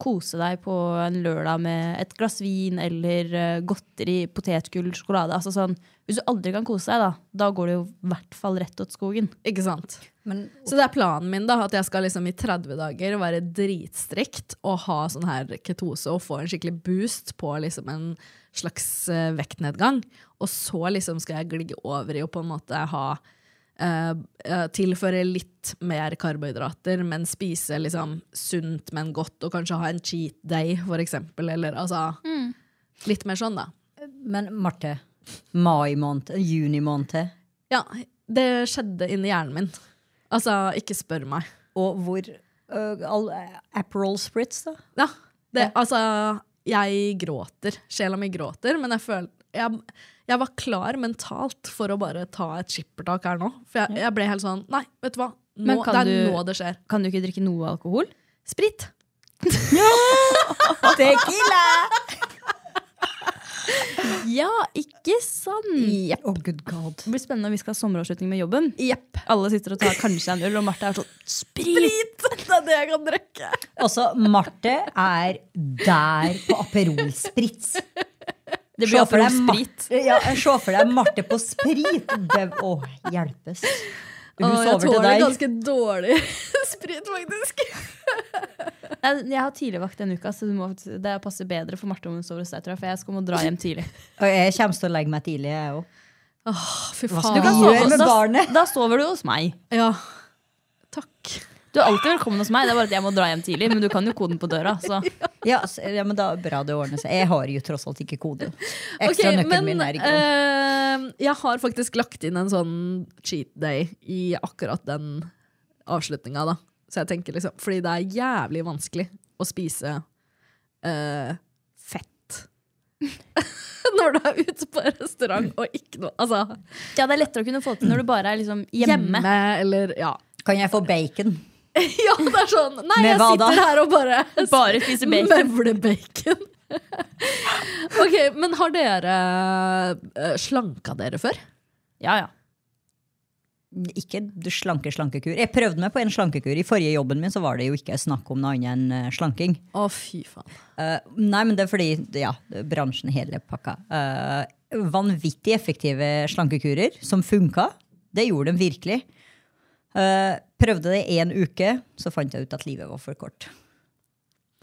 S5: kose deg på en lørdag med et glass vin eller eh, godteri, potetgull, sjokolade. Altså sånn, hvis du aldri kan kose deg, da, da går det jo i hvert fall rett åt skogen.
S2: Ikke sant?
S3: Men
S2: Så det er planen min, da, at jeg skal liksom i 30 dager være dritstrikt og ha sånn her ketose og få en skikkelig boost på liksom en slags eh, vektnedgang. Og så liksom skal jeg gligge over i å på en måte ha eh, eh, Tilføre litt mer karbohydrater, men spise liksom sunt, men godt, og kanskje ha en cheat day, for eksempel. Eller altså Litt mer sånn, da.
S3: Men Marte, mai måned, juni måned,
S2: Ja, det skjedde inni hjernen min. Altså, ikke spør meg.
S3: og hvor øh, all, Aperol Spritz, da?
S2: Ja, det, altså Jeg gråter. Sjela mi gråter, men jeg følte jeg, jeg var klar mentalt for å bare ta et skippertak her nå. For jeg, jeg ble helt sånn Nei, vet du hva? Nå,
S5: Men
S2: det
S5: kan
S2: er
S5: du-
S2: nå det skjer.
S5: Kan du ikke drikke noe alkohol?
S2: Sprit.
S5: *laughs*
S3: Tequila!
S5: Ja, ikke sant?
S3: Oh, good god.
S5: Det blir spennende når vi skal ha sommeravslutning med jobben.
S2: Jepp.
S5: Alle sitter og tar kanskje en øl, og Marte er sånn sprit!
S2: Det er det jeg kan drikke.
S3: Altså, Marte er der på Aperol Spritz.
S5: Det blir
S3: Se for deg
S5: Aperol Sprit.
S3: Marte- Ja, Se for deg Marte på sprit. Det, å, hjelpes. Hun
S2: Å, jeg
S3: sover til
S2: tåler
S3: deg.
S2: ganske dårlig *laughs* sprit, faktisk.
S5: Jeg, jeg har tidligvakt denne uka, så du må, det passer bedre for Marte om hun sover hos deg, tror jeg, for jeg skal må dra hjem *laughs* tidlig.
S3: Og jeg kommer til å legge meg tidlig, jeg òg.
S2: Fy
S3: skal du
S2: faen.
S3: kan sove Gjør med
S5: da,
S3: barnet.
S5: da sover du hos meg.
S2: Ja. Takk.
S5: Du er alltid velkommen hos meg, det er bare at jeg må dra hjem tidlig, men du kan jo koden på døra. Så.
S3: Ja, s- ja, men da er det bra det ordner seg. Jeg har jo tross alt ikke kode. Ekstra
S2: Ok,
S3: nøkkelen min er ikke kode.
S2: eh, jeg har faktisk lagt inn en sånn cheat day i akkurat den avslutninga, da. Så jeg tenker liksom Fordi det er jævlig vanskelig å spise eh, fett når du er ute på restaurant
S3: Mm.
S2: og ikke noe Altså
S5: Ja, det er lettere å kunne få til når du bare er liksom
S2: hjemme,
S5: hjemme.
S2: eller
S3: *laughs*
S2: ja.
S3: Kan jeg få bacon?
S2: *laughs* Ja, det er sånn Nei,
S3: Med
S2: jeg
S3: hva da?
S2: sitter her og bare
S5: Bare spiser bacon.
S2: Møvlebacon. *laughs* ok, men har dere eh, slanka dere før?
S5: Ja, ja.
S3: Ikke du slanke, slankekur. Jeg prøvde meg på en slankekur. I forrige jobben min så var det jo ikke snakk om noe annet enn eh, slanking.
S2: Å, fy faen.
S3: Eh, nei, men det er fordi ja, bransjen hele pakka. Eh, vanvittig effektive slankekurer som funka. Det gjorde de virkelig. Eh, prøvde det én uke, så fant jeg ut at livet var for kort.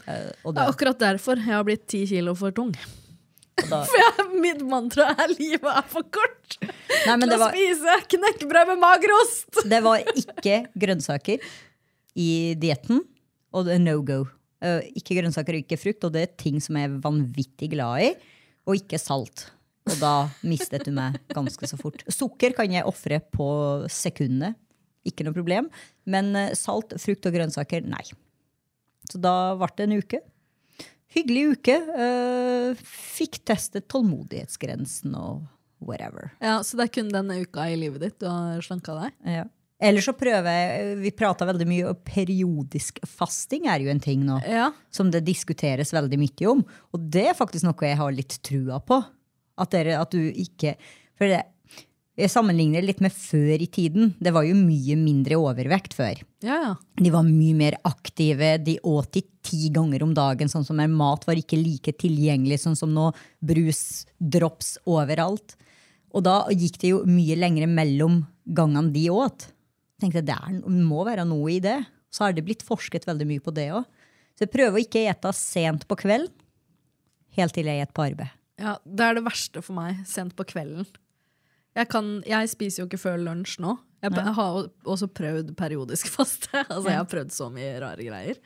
S3: Eh, og
S2: Det
S3: da,
S2: er akkurat derfor jeg har blitt ti kilo for tung. *laughs*
S3: og da,
S2: For jeg, mitt mantra er livet er for kort
S3: nei, men
S2: til
S3: det,
S2: å
S3: var,
S2: spise knekkebrød med magerost!
S3: det var ikke grønnsaker i dietten, og det er no go. Eh, ikke grønnsaker og ikke frukt, og det er ting som jeg er vanvittig glad i. Og ikke salt. Og da mistet du meg ganske så fort. Sukker kan jeg ofre på sekundene. Ikke noe problem. Men eh, salt, frukt og grønnsaker, nei. Så da ble det en uke. Hyggelig uke. eh, fikk testet tålmodighetsgrensen og whatever.
S2: Ja, Så det er kun denne uka i livet ditt du har slanka deg?
S3: Ja. Eller så prøver jeg Vi prater veldig mye om periodisk fasting er jo en ting nå
S2: Ja.
S3: som det diskuteres veldig mye om. Og det er faktisk noe jeg har litt trua på. At, dere, at du ikke For det, jeg sammenligner det litt med før i tiden. Det var jo mye mindre overvekt før.
S2: ja, ja.
S3: De var mye mer aktive, de åt i ti ganger om dagen. Sånn som er Mat var ikke like tilgjengelig sånn som nå. Brus, drops overalt. Og da gikk det jo mye lengre mellom gangene de åt. Tenkte jeg, Det er- må være noe i det. Så har det blitt forsket veldig mye på det òg. Så jeg prøver å ikke ete sent på kvelden, helt til jeg et på arbeid.
S2: Ja, det er det verste for meg, sent på kvelden. Jeg, kan, jeg spiser jo ikke før lunsj nå. Jeg b- har o- også prøvd periodisk *laughs* faste. altså, jeg har prøvd så mye rare greier.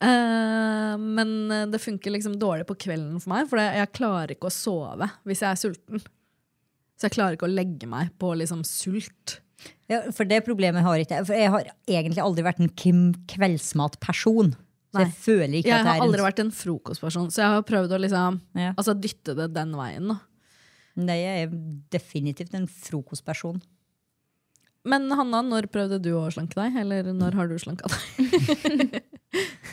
S2: Eh, men eh, det funker liksom dårlig på kvelden for meg, for jeg, jeg klarer ikke å sove hvis jeg er sulten. Så jeg klarer ikke å legge meg på liksom sult.
S3: Ja, for det problemet har ikke jeg. For jeg har egentlig aldri vært en kim- kveldsmatperson. Så jeg
S2: Nei.
S3: føler ikke
S2: Jeg
S3: at det
S2: har
S3: er
S2: aldri
S3: en...
S2: vært en frokostperson, så jeg har prøvd å liksom,
S3: Ja.
S2: altså, dytte det den veien. Da.
S3: Nei, jeg er definitivt en frokostperson.
S2: Men Hanna, når prøvde du å slanke deg? Eller når har du slanka
S3: *laughs*
S2: deg?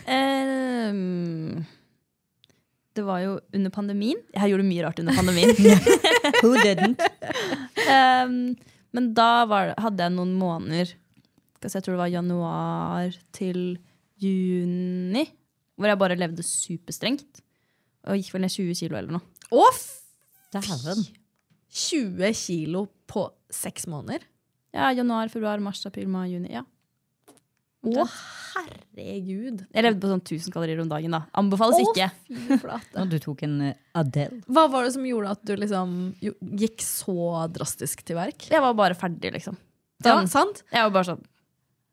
S5: Ehm, det var jo under pandemien. Jeg gjorde mye rart under pandemien.
S3: Who didn't?
S5: Ehm, men da var, det- hadde jeg noen måneder skal si, Jeg tror det var januar til juni, hvor jeg bare levde superstrengt. Og gikk vel ned 20 kilo eller noe.
S2: Å,
S3: Dæven.
S2: 20 kilo på seks måneder.
S5: Ja, Januar, februar, mars, april, mai, juni. Ja.
S2: Å, herregud.
S5: Jeg
S3: *laughs*
S5: levde på sånn 1000 kalorier om dagen. da Anbefales
S2: Å,
S5: ikke.
S2: Fy flate.
S3: Og du tok en eh, Adele.
S2: Hva var det som gjorde at du liksom jo- gikk så drastisk til verk?
S5: Jeg var bare ferdig, liksom.
S2: Ja,
S5: Sånn.
S2: sant?
S5: Jeg var bare sånn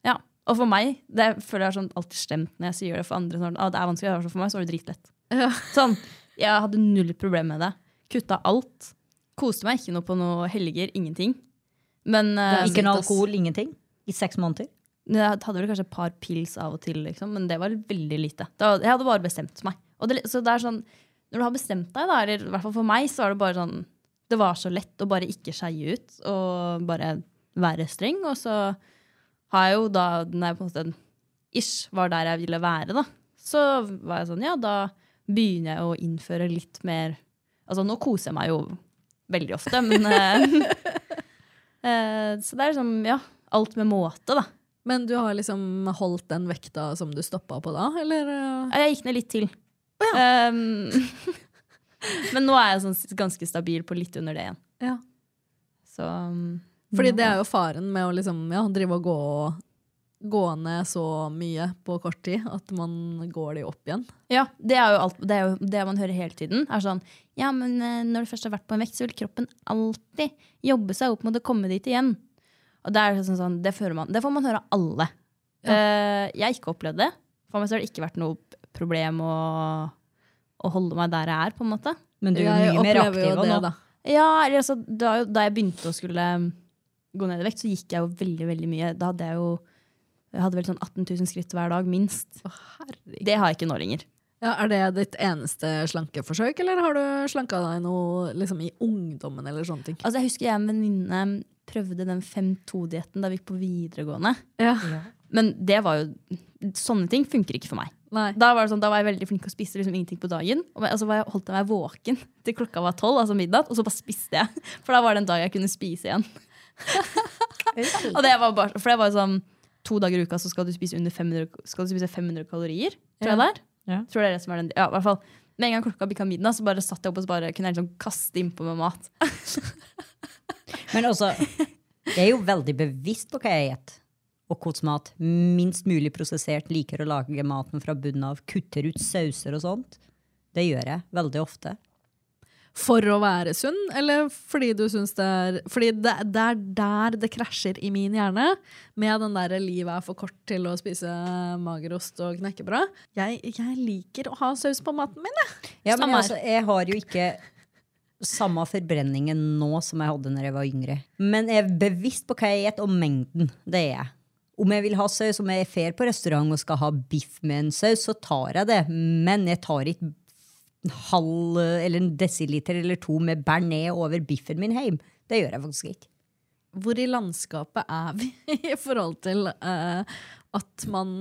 S5: Ja. Og for meg, det føler jeg har sånn alltid stemt når jeg sier det for andre. Sånn, ah, det er vanskelig, det er sånn, for meg så var det dritlett.
S2: Ja.
S5: Sånn, Jeg hadde null problem med det. Kutta alt. Koste meg ikke noe på noe helger. Ingenting. Men eh,
S3: Ikke noe alkohol, ingenting. I seks måneder.
S5: Jeg hadde vel kanskje et par pils av og til, liksom, men det var veldig lite. Det var, jeg hadde bare bestemt meg. Og det, så det er sånn, når du har bestemt deg, da, eller i hvert fall for meg, så var det bare sånn Det var så lett å bare ikke skeie ut og bare være streng. Og så har jeg jo da, når jeg på en måte ish var der jeg ville være, da, så var jeg sånn Ja, da begynner jeg å innføre litt mer Altså, nå koser jeg meg jo veldig ofte, men *laughs* eh, eh, Så det er liksom, ja. Alt med måte, da.
S2: Men du har liksom holdt den vekta som du stoppa på da, eller? eh?
S5: Ja, Jeg gikk ned litt til. Ehm, *laughs* men nå er jeg sånn s- ganske stabil på litt under det igjen.
S2: Ja.
S5: Så um,
S2: Fordi det er jo faren med å liksom, ja, drive og gå, gå ned så mye på kort tid at man går de opp igjen.
S5: ja, det er jo alt det, er jo det man hører hele tiden. Er sånn Ja, men eh, når du først har vært på en vekt, så vil kroppen alltid jobbe seg opp mot å komme dit igjen. Og det er liksom sånn, det, fører man, det får man høre av alle. Eh, jeg har ikke opplevd det. For meg så har det ikke vært noe problem å, å holde meg der jeg er, på en måte.
S3: Men du er
S2: Jeg
S3: mye mer
S2: opplever jo
S3: aktiv
S2: det,
S3: nå.
S2: da.
S5: Ja, eller altså, da, da jeg begynte å skulle um, gå ned i vekt, så gikk jeg jo veldig veldig mye. Da hadde jeg jo jeg hadde vel sånn 18 000 skritt hver dag, minst.
S2: Å, herregud.
S5: Det har jeg ikke nå lenger.
S2: Ja, er det ditt eneste slankeforsøk, eller har du slanka deg noe liksom, i ungdommen? eller sånne ting?
S5: Altså, Jeg husker jeg og en venninne um, prøvde den 5-2-dietten da vi gikk på videregående.
S2: Ja.
S5: Men det var jo, sånne ting funker ikke for meg.
S2: Nei.
S5: Da var, det sånn, da var jeg veldig flink og spiste liksom ingenting på dagen. Og altså, var jeg holdt jeg meg våken *laughs* til klokka var tolv, altså midnatt, og så bare spiste jeg. *laughs* For da var det en dag jeg kunne spise igjen. og det var bare, for det var jo sånn to dager i uka så skal du spise, under 500, skal du spise 500 kalorier, tror jeg det er.
S3: Ja.
S5: Tror det er det som er den, ja, i hvert fall. Med en gang klokka bikka midnatt, så bare satt jeg opp og så bare kunne jeg liksom kaste innpå med mat.
S3: Men altså, jeg er jo veldig bevisst på hva jeg spiser. Og kodsmat. Minst mulig prosessert. Liker å lage maten fra bunnen av. Kutter ut sauser og sånt. Det gjør jeg veldig ofte.
S2: For å være sunn, eller fordi du syns det er Fordi det, det er der det krasjer i min hjerne, med den derre 'livet er for kort til å spise magerost og knekkebrød'. Jeg, jeg liker å ha saus på maten min, jeg.
S3: Ja, men
S5: Samme
S3: altså, jeg har jo ikke samme forbrenningen nå som jeg hadde når jeg var yngre. Men jeg er bevisst på hva jeg spiser, og mengden. Det er jeg. Om jeg vil ha saus, om jeg drar på restaurant og skal ha biff med en saus, så tar jeg det. Men jeg tar ikke en halv eller en desiliter eller to med bearnés over biffen min hjem. Det gjør jeg faktisk ikke.
S2: Hvor i landskapet er vi i forhold til eh, at man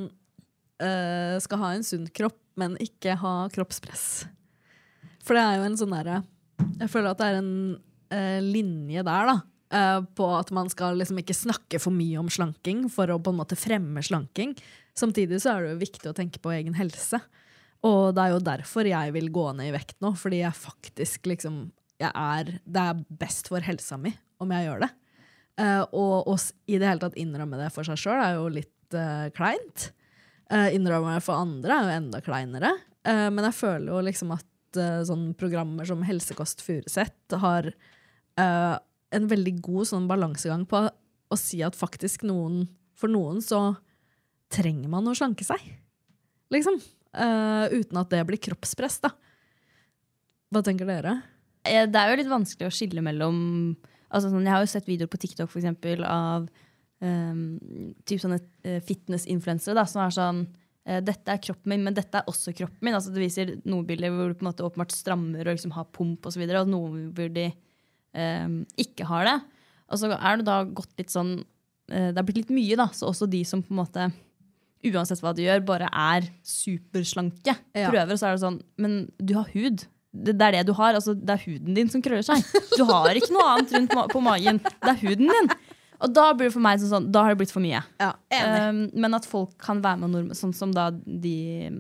S2: eh, skal ha en sunn kropp, men ikke ha kroppspress? For det er jo en sånn derre Jeg føler at det er en eh, linje der, da. eh, på at man skal liksom ikke snakke for mye om slanking for å på en måte fremme slanking. Samtidig så er det jo viktig å tenke på egen helse. Og det er jo derfor jeg vil gå ned i vekt nå, fordi jeg faktisk liksom jeg er, Det er best for helsa mi om jeg gjør det. Eh, og å s- i det hele tatt innrømme det for seg sjøl er jo litt eh, kleint. Eh, innrømmer for andre er jo enda kleinere. Eh, men jeg føler jo liksom at eh, sånn programmer som Helsekost Furuset har eh, en veldig god sånn balansegang på å si at faktisk noen For noen så trenger man å slanke seg. Liksom. Eh, uten at det blir kroppspress, da. Hva tenker dere?
S5: Eh, Det er jo litt vanskelig å skille mellom altså sånn, Jeg har jo sett videoer på TikTok for eksempel, av um, typ sånne eh, fitness-influensere da, som er sånn eh, Dette er kroppen min, men dette er også kroppen min. Altså, det viser noen bilder hvor du på en måte åpenbart strammer og liksom har pump osv., og, så videre, og noen hvor de um, ikke har det. Og så er det da gått litt sånn eh, Det har blitt litt mye, da. Så også de som på en måte uansett hva du gjør, bare er superslanke.
S2: Ja.
S5: Prøver, og så er det sånn Men du har hud. Det, det er det du har. Altså, det er huden din som krøller seg. Du har ikke noe annet rundt ma på magen. Det er huden din. Og da blir det for meg sånn, sånn Da har det blitt for mye.
S2: Ja,
S5: Um, men at folk kan være med nordmenn, sånn som da de um,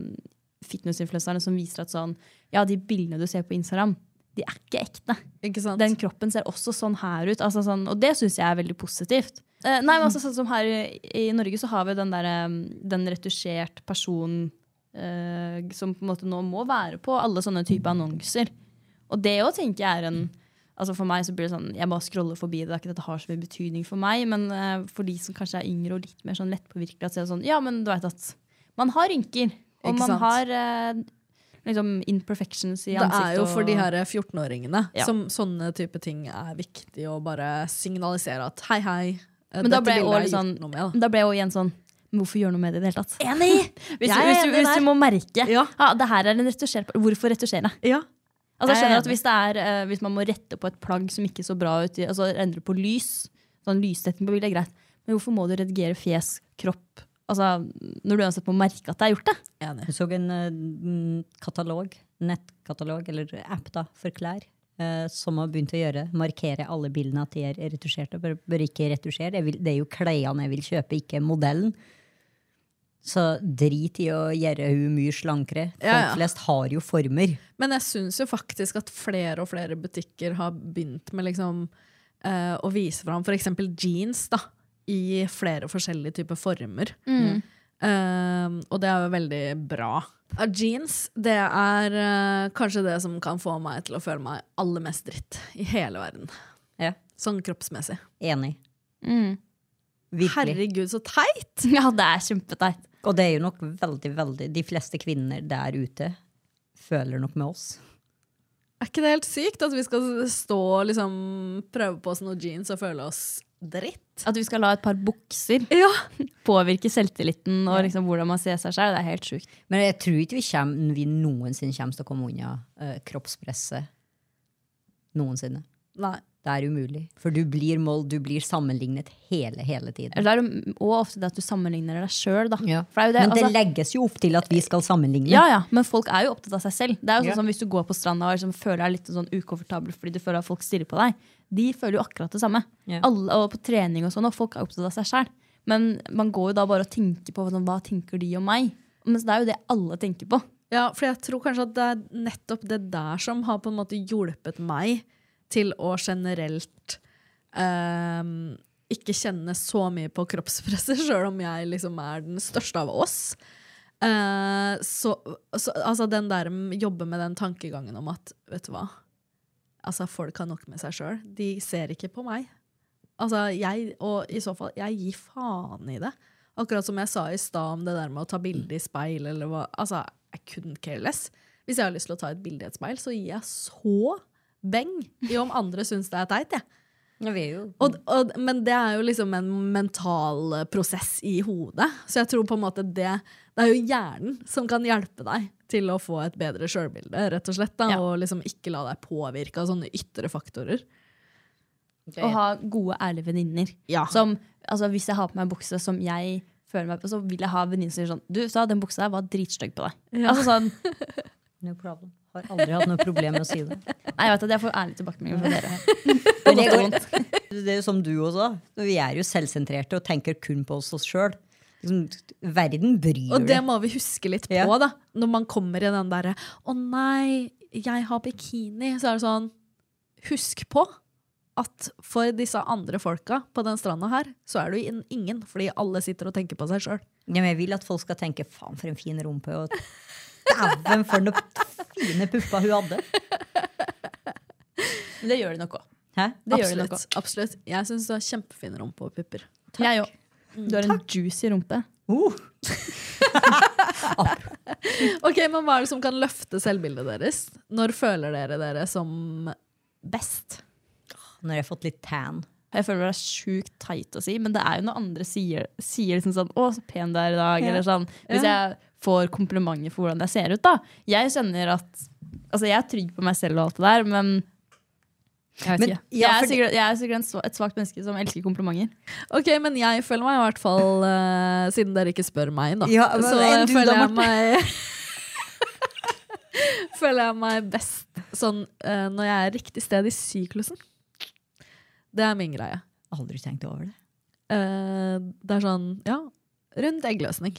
S5: fitnessinfluenserne som viser at sånn Ja, de bildene du ser på Instagram, de er ikke ekte.
S2: Eh, Ikke sant?
S5: Den kroppen ser også sånn her ut. Altså sånn, og det syns jeg er veldig positivt. Eh, nei, men altså sånn som Her i, i Norge så har vi den, der, eh, den retusjert personen eh, som på en måte nå må være på alle sånne typer annonser. Og det òg tenker jeg er en Altså For meg så blir det sånn, jeg bare scroller forbi det. det er ikke at det har så mye betydning for meg, men eh, for de som kanskje er yngre og litt mer sånn lettpåvirkelig, så er det sånn, ja, men du vet at man har rynker. Og
S2: Ikke
S5: man
S2: sant?
S5: har eh, liksom imperfections i
S2: Det
S5: ansiktet.
S2: er jo for de
S5: og-
S2: her 14-åringene
S5: Ja.
S2: som sånne type ting er viktig å bare signalisere at hei, hei. eh,
S5: Men da
S2: dette
S5: ble jeg
S2: bildet
S5: også
S2: har
S5: litt
S2: gjort
S5: sånn-
S2: noe med, da.
S5: Men Da ble jeg også igjen sånn men Hvorfor gjøre noe med det i det hele tatt? *laughs* Hvis, du-
S2: Jeg er
S5: hvis, du-
S2: enig
S5: hvis du
S2: der.
S5: må merke
S2: Ja.
S5: ah, det her er en retusjer, Hvorfor retusjere?
S2: Ja.
S5: Altså, jeg
S2: Jeg er
S5: skjønner at hvis, det er, eh, hvis man må rette på et plagg som ikke så bra ut, i- altså endre på lys, sånn lyssetting på bildet er greit, men hvorfor må du redigere fjes, kropp, altså, når du uansett må merke at det er gjort det?
S2: Enig.
S3: Jeg så en eh, mm, katalog, nettkatalog, eller app da, for klær, eh, som har begynt å gjøre, markere alle bildene at de er retusjerte. Bør, bør ikke retusjere. Jeg vil, det er jo klærne jeg vil kjøpe, ikke modellen. Så drit i å gjøre hun mye slankere. Folk
S2: Ja, ja.
S3: flest har jo former.
S2: Men jeg syns jo faktisk at flere og flere butikker har begynt med liksom, eh, å vise fram f.eks. jeans da, i flere forskjellige typer former.
S5: Mm.
S2: Eh, og det er jo veldig bra. Eh, jeans det er eh, kanskje det som kan få meg til å føle meg aller mest dritt i hele verden.
S3: Ja.
S2: Sånn kroppsmessig.
S3: Enig.
S2: Mm.
S3: Virkelig.
S2: Herregud, så teit!
S5: *laughs* Ja, det er kjempeteit.
S3: Og det er jo nok veldig, veldig De fleste kvinner der ute føler nok med oss.
S2: Er ikke det helt sykt at vi skal stå og liksom, prøve på oss noen jeans og føle oss dritt?
S5: At vi skal la et par bukser
S2: Ja.
S5: *laughs* påvirke selvtilliten og liksom hvordan man ser seg selv, det er helt sjukt.
S3: Men jeg tror ikke vi, kjem, vi noensinne kommer til å komme unna eh, kroppspresset. Noensinne.
S2: Nei.
S3: Det er umulig. For du blir mål, du blir sammenlignet hele, hele tiden.
S5: Eller det er jo også ofte det at du sammenligner deg sjøl, da. For det er jo det,
S3: Men det
S5: altså,
S3: legges jo opp til at vi skal sammenligne.
S5: ja, ja, men folk er jo opptatt av seg selv. Det er jo sånn
S3: Mm. Ja.
S5: som Hvis du går på stranda og liksom føler deg litt sånn ukomfortabel fordi du føler at folk stirrer på deg, de føler jo akkurat det samme.
S3: Ja.
S5: Alle, og på trening og sånn, og folk er opptatt av seg sjøl. Men man går jo da bare og tenker på sånn, hva tenker de om meg? Mens det er jo det alle tenker på.
S2: Ja, for jeg tror kanskje at det er nettopp det der som har på en måte hjulpet meg til å generelt ehm, ikke kjenne så mye på kroppspresset, *laughs* sjøl om jeg liksom er den største av oss. Eh, så, så altså den der jobbe med den tankegangen om at vet du hva, altså folk har nok med seg sjøl. De ser ikke på meg. Altså jeg, og i så fall, jeg gir faen i det. Akkurat som jeg sa i stad om det der med å ta bilde i speil. Eller hva, altså, I couldn't care less. Hvis jeg har lyst til å ta et bilde i et speil, så gir jeg så beng i om andre syns det er teit. Jeg.
S3: Ja, vi er jo.
S2: Og, og, men det er jo liksom en mental eh, prosess i hodet. Så jeg tror på en måte det Det er jo hjernen som kan hjelpe deg til å få et bedre sjølbilde, rett og slett. Da,
S5: Ja.
S2: Og liksom ikke la deg påvirke av sånne ytre faktorer.
S5: Å ha gode, ærlige venninner.
S2: Ja.
S5: Som, altså, hvis jeg har på meg en bukse som jeg føler meg på, så vil jeg ha venninner som sier sånn Du sa den buksa der var dritstygg på deg.
S3: *laughs*
S5: Altså sånn,
S3: No problem. Har *laughs* aldri hatt noe problem med å si det.
S5: Nei, jeg vet at jeg får ærlige
S3: *laughs*
S5: tilbakemeldinger fra dere.
S3: Men det, går, det er jo som du også. Vi er jo selvsentrerte og tenker kun på oss sjøl. Liksom, verden bryr
S2: Og det
S3: deg.
S2: må vi huske litt på,
S3: Ja.
S2: da. Når man kommer i den derre 'Å nei, jeg har bikini', så er det sånn Husk på at for disse andre folka på den stranda her, så er du in- ingen, fordi alle sitter og tenker på seg sjøl.
S3: Ja, men jeg vil at folk skal tenke 'faen, for en fin rumpe', og 'dæven, for noen fine pupper hun hadde'.
S5: Men det gjør de nok òg.
S3: Hæ?
S5: Det gjør de nok
S2: Absolutt. Absolutt. Jeg syns du har kjempefin rumpe og pupper.
S5: også. Jeg òg. Du har en juicy rumpe.
S3: Uh,
S2: Ok, Men hva er det som kan løfte selvbildet deres? Når føler dere dere som best?
S3: når jeg har fått litt tan.
S5: Jeg føler det er sjukt teit å si, men det er jo når andre sier, sier liksom sånn 'Å, så pen du er i dag',
S3: Ja.
S5: eller sånn. Hvis jeg får komplimenter for hvordan jeg ser ut, da. Jeg kjenner at Altså, jeg er trygg på meg selv og alt det der, men jeg vet
S3: Men-
S5: ikke.
S3: ja,
S5: jeg, er
S3: fordi-
S5: sikkert, jeg er sikkert en sva- et svakt menneske som elsker komplimenter.
S2: Ok, men jeg føler meg i hvert fall eh, Siden dere ikke spør meg, da.
S3: Ja, men
S2: så
S3: enn du
S2: føler
S3: da,
S2: jeg
S3: *laughs*
S2: meg *laughs* Føler jeg meg best sånn eh, når jeg er riktig sted i syklusen. Det er min greie.
S3: Aldri tenkt over det.
S2: Eh, det er sånn, ja, rundt eggløsning.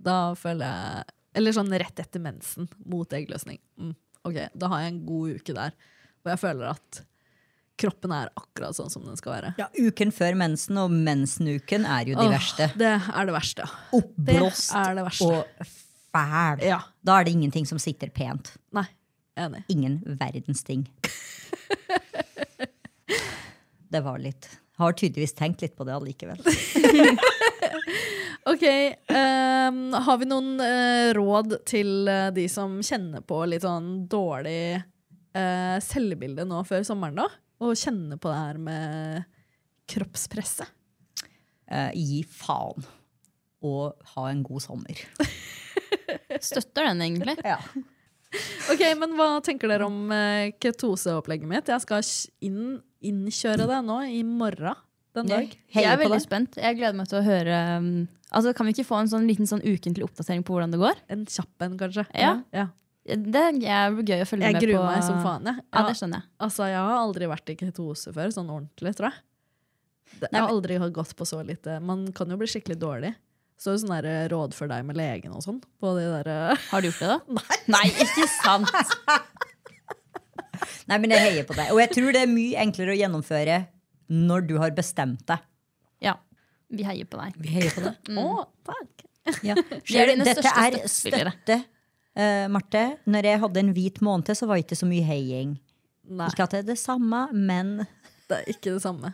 S2: Da føler jeg Eller sånn rett etter mensen, mot eggløsning. Mm, ok, da har jeg en god uke der. Og jeg føler at kroppen er akkurat sånn som den skal være.
S3: Ja, Uken før mensen og mensenuken er jo de
S2: Åh,
S3: verste.
S2: Det er det verste. ja. Det
S3: Oppblåst
S2: er det verste.
S3: og fæl.
S2: Ja.
S3: Da er det ingenting som sitter pent.
S2: Nei, enig.
S3: Ingen verdens
S2: *laughs*
S3: ting. Det var litt Har tydeligvis tenkt litt på det allikevel.
S2: Ok, ehm, har vi noen eh, råd til eh, de som kjenner på litt sånn dårlig eh, selvbilde nå før sommeren, da? Og kjenner på det her med kroppspresset?
S3: Eh, gi faen og ha en god sommer.
S5: Støtter den, egentlig.
S3: Ja.
S2: Ok, men hva tenker dere om eh, ketoseopplegget mitt? Jeg skal kj- inn, innkjøre det nå i morgen den dag.
S5: Jeg er
S3: Heier på
S5: veldig
S3: det.
S5: spent. Jeg gleder meg til å høre um, Altså, Kan vi ikke få en sånn liten sånn ukentlig oppdatering på hvordan det går?
S2: En kjapp en, kanskje.
S5: Ja. Det er gøy å følge
S2: Jeg
S5: med på. eh,
S2: gruer meg som faen. Jeg.
S5: Ja,
S2: Ja,
S5: det skjønner jeg.
S2: altså, jeg har aldri vært i ketose før, sånn ordentlig, tror jeg. Det, jeg
S5: Nei,
S2: har aldri har gått på så lite. Man kan jo bli skikkelig dårlig. Så er det sånn der råd for deg med legen og sånn. På de der,
S5: Har du gjort det, da? Nei, Nei ikke sant!
S3: Nei, men jeg heier på deg. Og jeg tror det er mye enklere å gjennomføre når du har bestemt deg.
S5: Ja, vi heier på deg.
S3: Vi heier på deg.
S2: Å, takk!
S3: Ja.
S5: *laughs* Vi er dine
S3: Dette
S5: største
S3: er
S5: støttespillere.
S3: støtte, eh, Marte. Når jeg hadde en hvit måned, så var det ikke så mye heiing.
S2: Nei,
S3: Ikke at det er det samme, men
S2: *laughs* det er ikke det samme.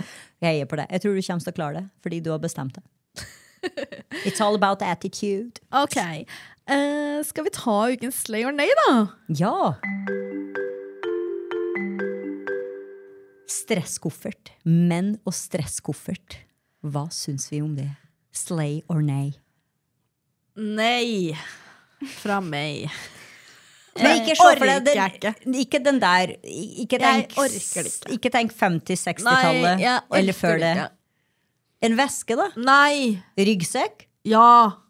S3: jeg heier på deg. Jeg tror du kommer til å klare det, fordi du har bestemt det.
S5: *laughs*
S3: It's all about attitude.
S2: Ok, eh, skal vi ta ukens slay or nay, da?
S3: Ja! Stresskoffert. Menn og stresskoffert. Hva syns vi om det? Slay or nay?
S2: Nei fra *laughs* meg.
S3: Men
S2: Eh,
S3: ikke se for deg den, ikke den der Ikke
S2: Jeg
S3: tenk,
S2: orker det ikke.
S3: ikke tenk 50-, 60-tallet eller før det. En veske, da.
S2: Nei!
S3: Ryggsekk,
S2: Ja!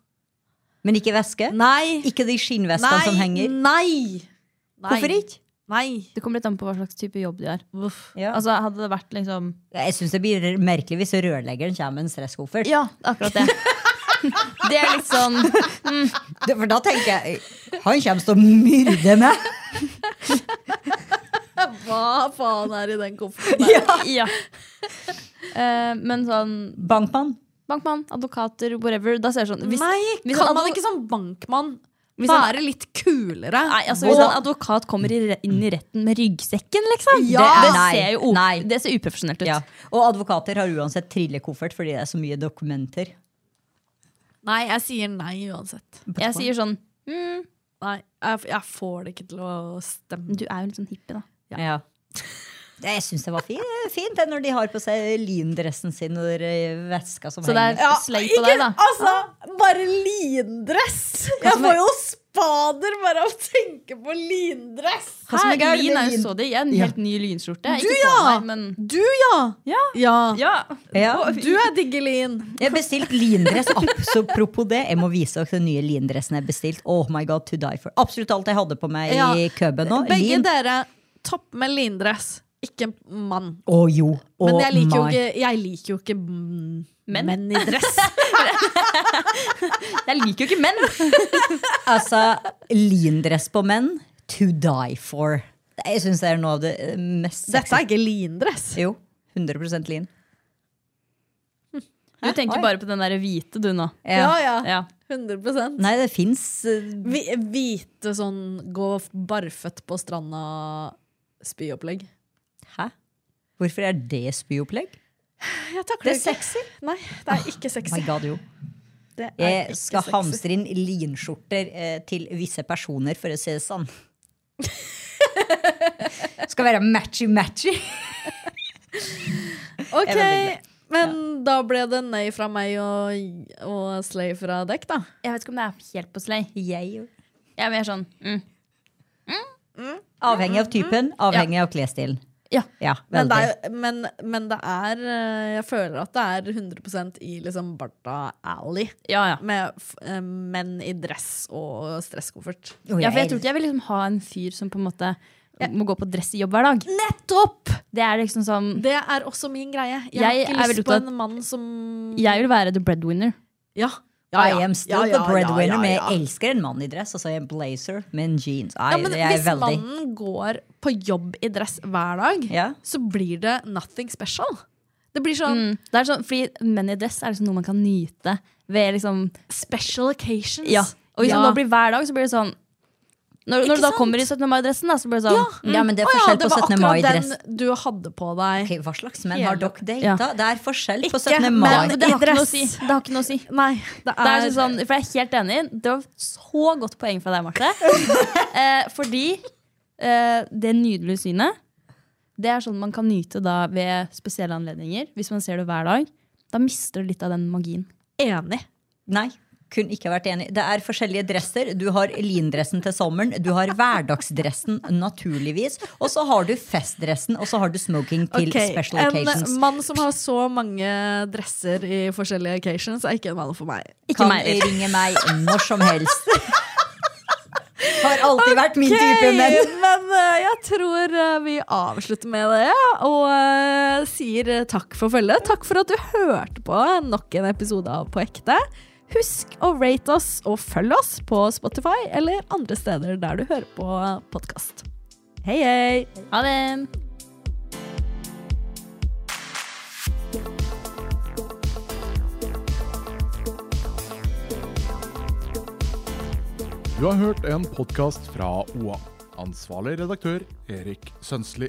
S3: men ikke veske.
S2: Nei!
S3: Ikke de skinnvestene som henger.
S2: Nei! Nei.
S3: Hvorfor ikke?
S2: Nei.
S5: Det kommer litt an på hva slags type jobb de har.
S3: Ja.
S5: Altså, Hadde det vært liksom
S3: Jeg syns det blir merkelig hvis rørleggeren kommer med en stresskoffert.
S5: Ja, akkurat det. Det er litt sånn
S3: *laughs*
S5: *laughs*
S3: Det- For da tenker jeg Han kommer til å myrde
S2: *laughs*
S3: meg!
S2: Hva Ah, faen er i den *laughs* kofferten?
S5: Ja. Eh, men sånn
S3: Bankmann.
S5: bankmann, advokater, whatever. Da ser jeg sånn hvis- hvis
S2: kan
S5: en
S2: man
S5: advo-
S2: ikke som bankmann
S5: Hvis han-
S2: være litt kulere?
S5: Nei, altså Hvis en advokat kommer i re- inn i retten med ryggsekken, liksom
S3: Ja.
S5: det, det,
S3: Nei,
S5: ser jo o-
S3: nei.
S5: det ser uprofesjonelt ut.
S3: Ja. Og advokater har uansett trillekoffert fordi det er så mye dokumenter.
S2: Nei, jeg sier nei uansett.
S5: Jeg sier sånn mm,
S2: Nei, jeg, jeg får det ikke til å stemme.
S5: Du er jo litt sånn hippie, da.
S3: Ja. Jeg syns det var fint, fint det, når de har på seg lindressen sin og den veska som
S5: Så det er
S3: henger.
S5: slay på deg, da.
S2: Altså, bare lindress! Jeg får jo spader bare av å tenke på lindress!
S5: Hva som
S3: Herlig
S5: er gærent med
S3: lin.
S5: lin? Så det. Jeg er en helt ny linskjorte.
S2: Du,
S5: Ikke på
S2: ja!
S5: meg, men
S2: Du, ja! Ja.
S5: ja.
S3: Ja.
S2: Du er diggelin.
S3: Jeg har bestilt lindress. absolutt, Apropos det, jeg må vise dere den nye lindressen jeg har bestilt. Oh my god, to die for. Absolutt alt jeg hadde på meg
S2: Ja.
S3: i køben nå.
S2: Begge
S3: Lin.
S2: dere, topp med lindress. Ikke mann.
S3: Å jo. Å
S2: Men jeg liker jo
S3: my.
S2: ikke, jeg liker jo ikke mm,
S5: Menn?
S2: menn i dress.
S5: Jeg liker
S3: *laughs*
S5: jo ikke menn!
S3: Altså, lindress på menn, to die for. Jeg syns det er noe av det eh, mest
S2: Dette er ikke lindress.
S3: Jo. 100 lin.
S5: Du tenker bare på den der hvite, du nå.
S2: Ja, ja.
S5: Ja.
S2: 100
S3: Nei, det eh, fins
S2: Vi, Hvite sånn gå f- barføtt på stranda spyopplegg.
S3: Hæ? Hvorfor er det spyopplegg?
S2: Jeg takler
S3: Det er
S2: ikke.
S3: sexy.
S2: Nei, det er ikke
S3: Oh My
S2: sexy.
S3: God, jo.
S2: Det er
S3: Jeg
S2: ikke
S3: skal
S2: sexy.
S3: hamstre inn linskjorter eh, til visse personer, for å si det
S2: *laughs*
S3: sånn. skal være matchy-matchy.
S2: Ok,
S3: Jeg er veldig
S2: men da ble det nei fra meg og, og slay fra dekk, da.
S5: Jeg vet ikke om det er helt på slay.
S3: Jeg-
S5: Jeg er mer sånn mm.
S3: Avhengig av typen, avhengig av klesstilen.
S5: Ja.
S2: Men det,
S3: veldig.
S2: er, men, men det er eh, Jeg føler at det er 100 i liksom Barta Alley.
S5: Ja, ja.
S2: Med f- eh, menn i dress og stresskoffert.
S3: Å,
S5: ja, for jeg tror
S3: elsker-
S5: ikke jeg vil liksom ha en fyr som på en måte må gå på dress i jobb hver dag. Nettopp! Det er liksom sånn
S2: Det er også min greie. Jeg, har
S5: Jeg
S2: ikke
S5: er
S2: lyst
S5: veldig
S2: på
S5: opptatt-
S2: en mann som
S5: Jeg vil være the breadwinner.
S2: Ja.
S3: I am still
S2: Ja, ja,
S3: the breadwinner,
S2: ja, ja,
S3: men
S2: ja.
S3: jeg elsker en mann i dress, og så er jeg en blazer med en jeans. Nei,
S2: Ja, men
S3: jeg er
S2: hvis
S3: veldig...
S2: mannen går på jobb i dress hver dag,
S3: Ja.
S2: så blir det nothing special. Det blir sånn
S5: Mm. Det er sånn, fordi menn i dress er liksom noe man kan nyte ved liksom
S2: special occasions.
S5: Ja. Og hvis
S2: Ja.
S5: det nå blir hver dag, så blir det sånn Når, når du da
S2: sant?
S5: kommer i 17. mai-dressen, da, så blir det sånn mm.
S3: Ja, men det er
S2: Å
S3: forskjell
S2: det
S3: på
S2: var
S3: 17.
S2: akkurat
S3: mai i dress.
S2: Den du hadde på deg.
S3: Ok, hva slags menn har dere data?
S5: Ja.
S3: Det er forskjell på
S2: Ikke
S3: 17.
S2: menn,
S3: mai.
S5: det, har ikke noe å si.
S2: dress.
S5: det har ikke noe å si.
S2: Nei, det
S5: Det
S2: er,
S5: er sånn, for jeg er helt enig. Det var så godt poeng fra deg, Marte. eh, fordi eh, det nydelige synet, det er sånn man kan nyte da ved spesielle anledninger. Hvis man ser det hver dag. Da mister du litt av den magien.
S2: enig.
S3: Nei, kun ikke vært enig. Det er forskjellige dresser. Du har lindressen til sommeren, du har hverdagsdressen naturligvis, og så har du festdressen, og så har du smoking til
S2: Ok,
S3: special occasions.
S2: En mann som har så mange dresser i forskjellige occasions, er ikke en mann for meg.
S3: Kan
S5: meg heller.
S3: ringe meg når som helst. Har alltid vært min type, men
S2: Ok, men eh, jeg tror eh, vi avslutter med det, og eh, sier eh, takk for følget. Takk for at du hørte på nok en episode av På ekte. Husk å rate oss og følg oss på Spotify eller andre steder der du hører på podkast. Hei, hei!
S5: Ha det!
S1: Du har hørt en podkast fra OA. Ansvarlig redaktør Erik Sønsli.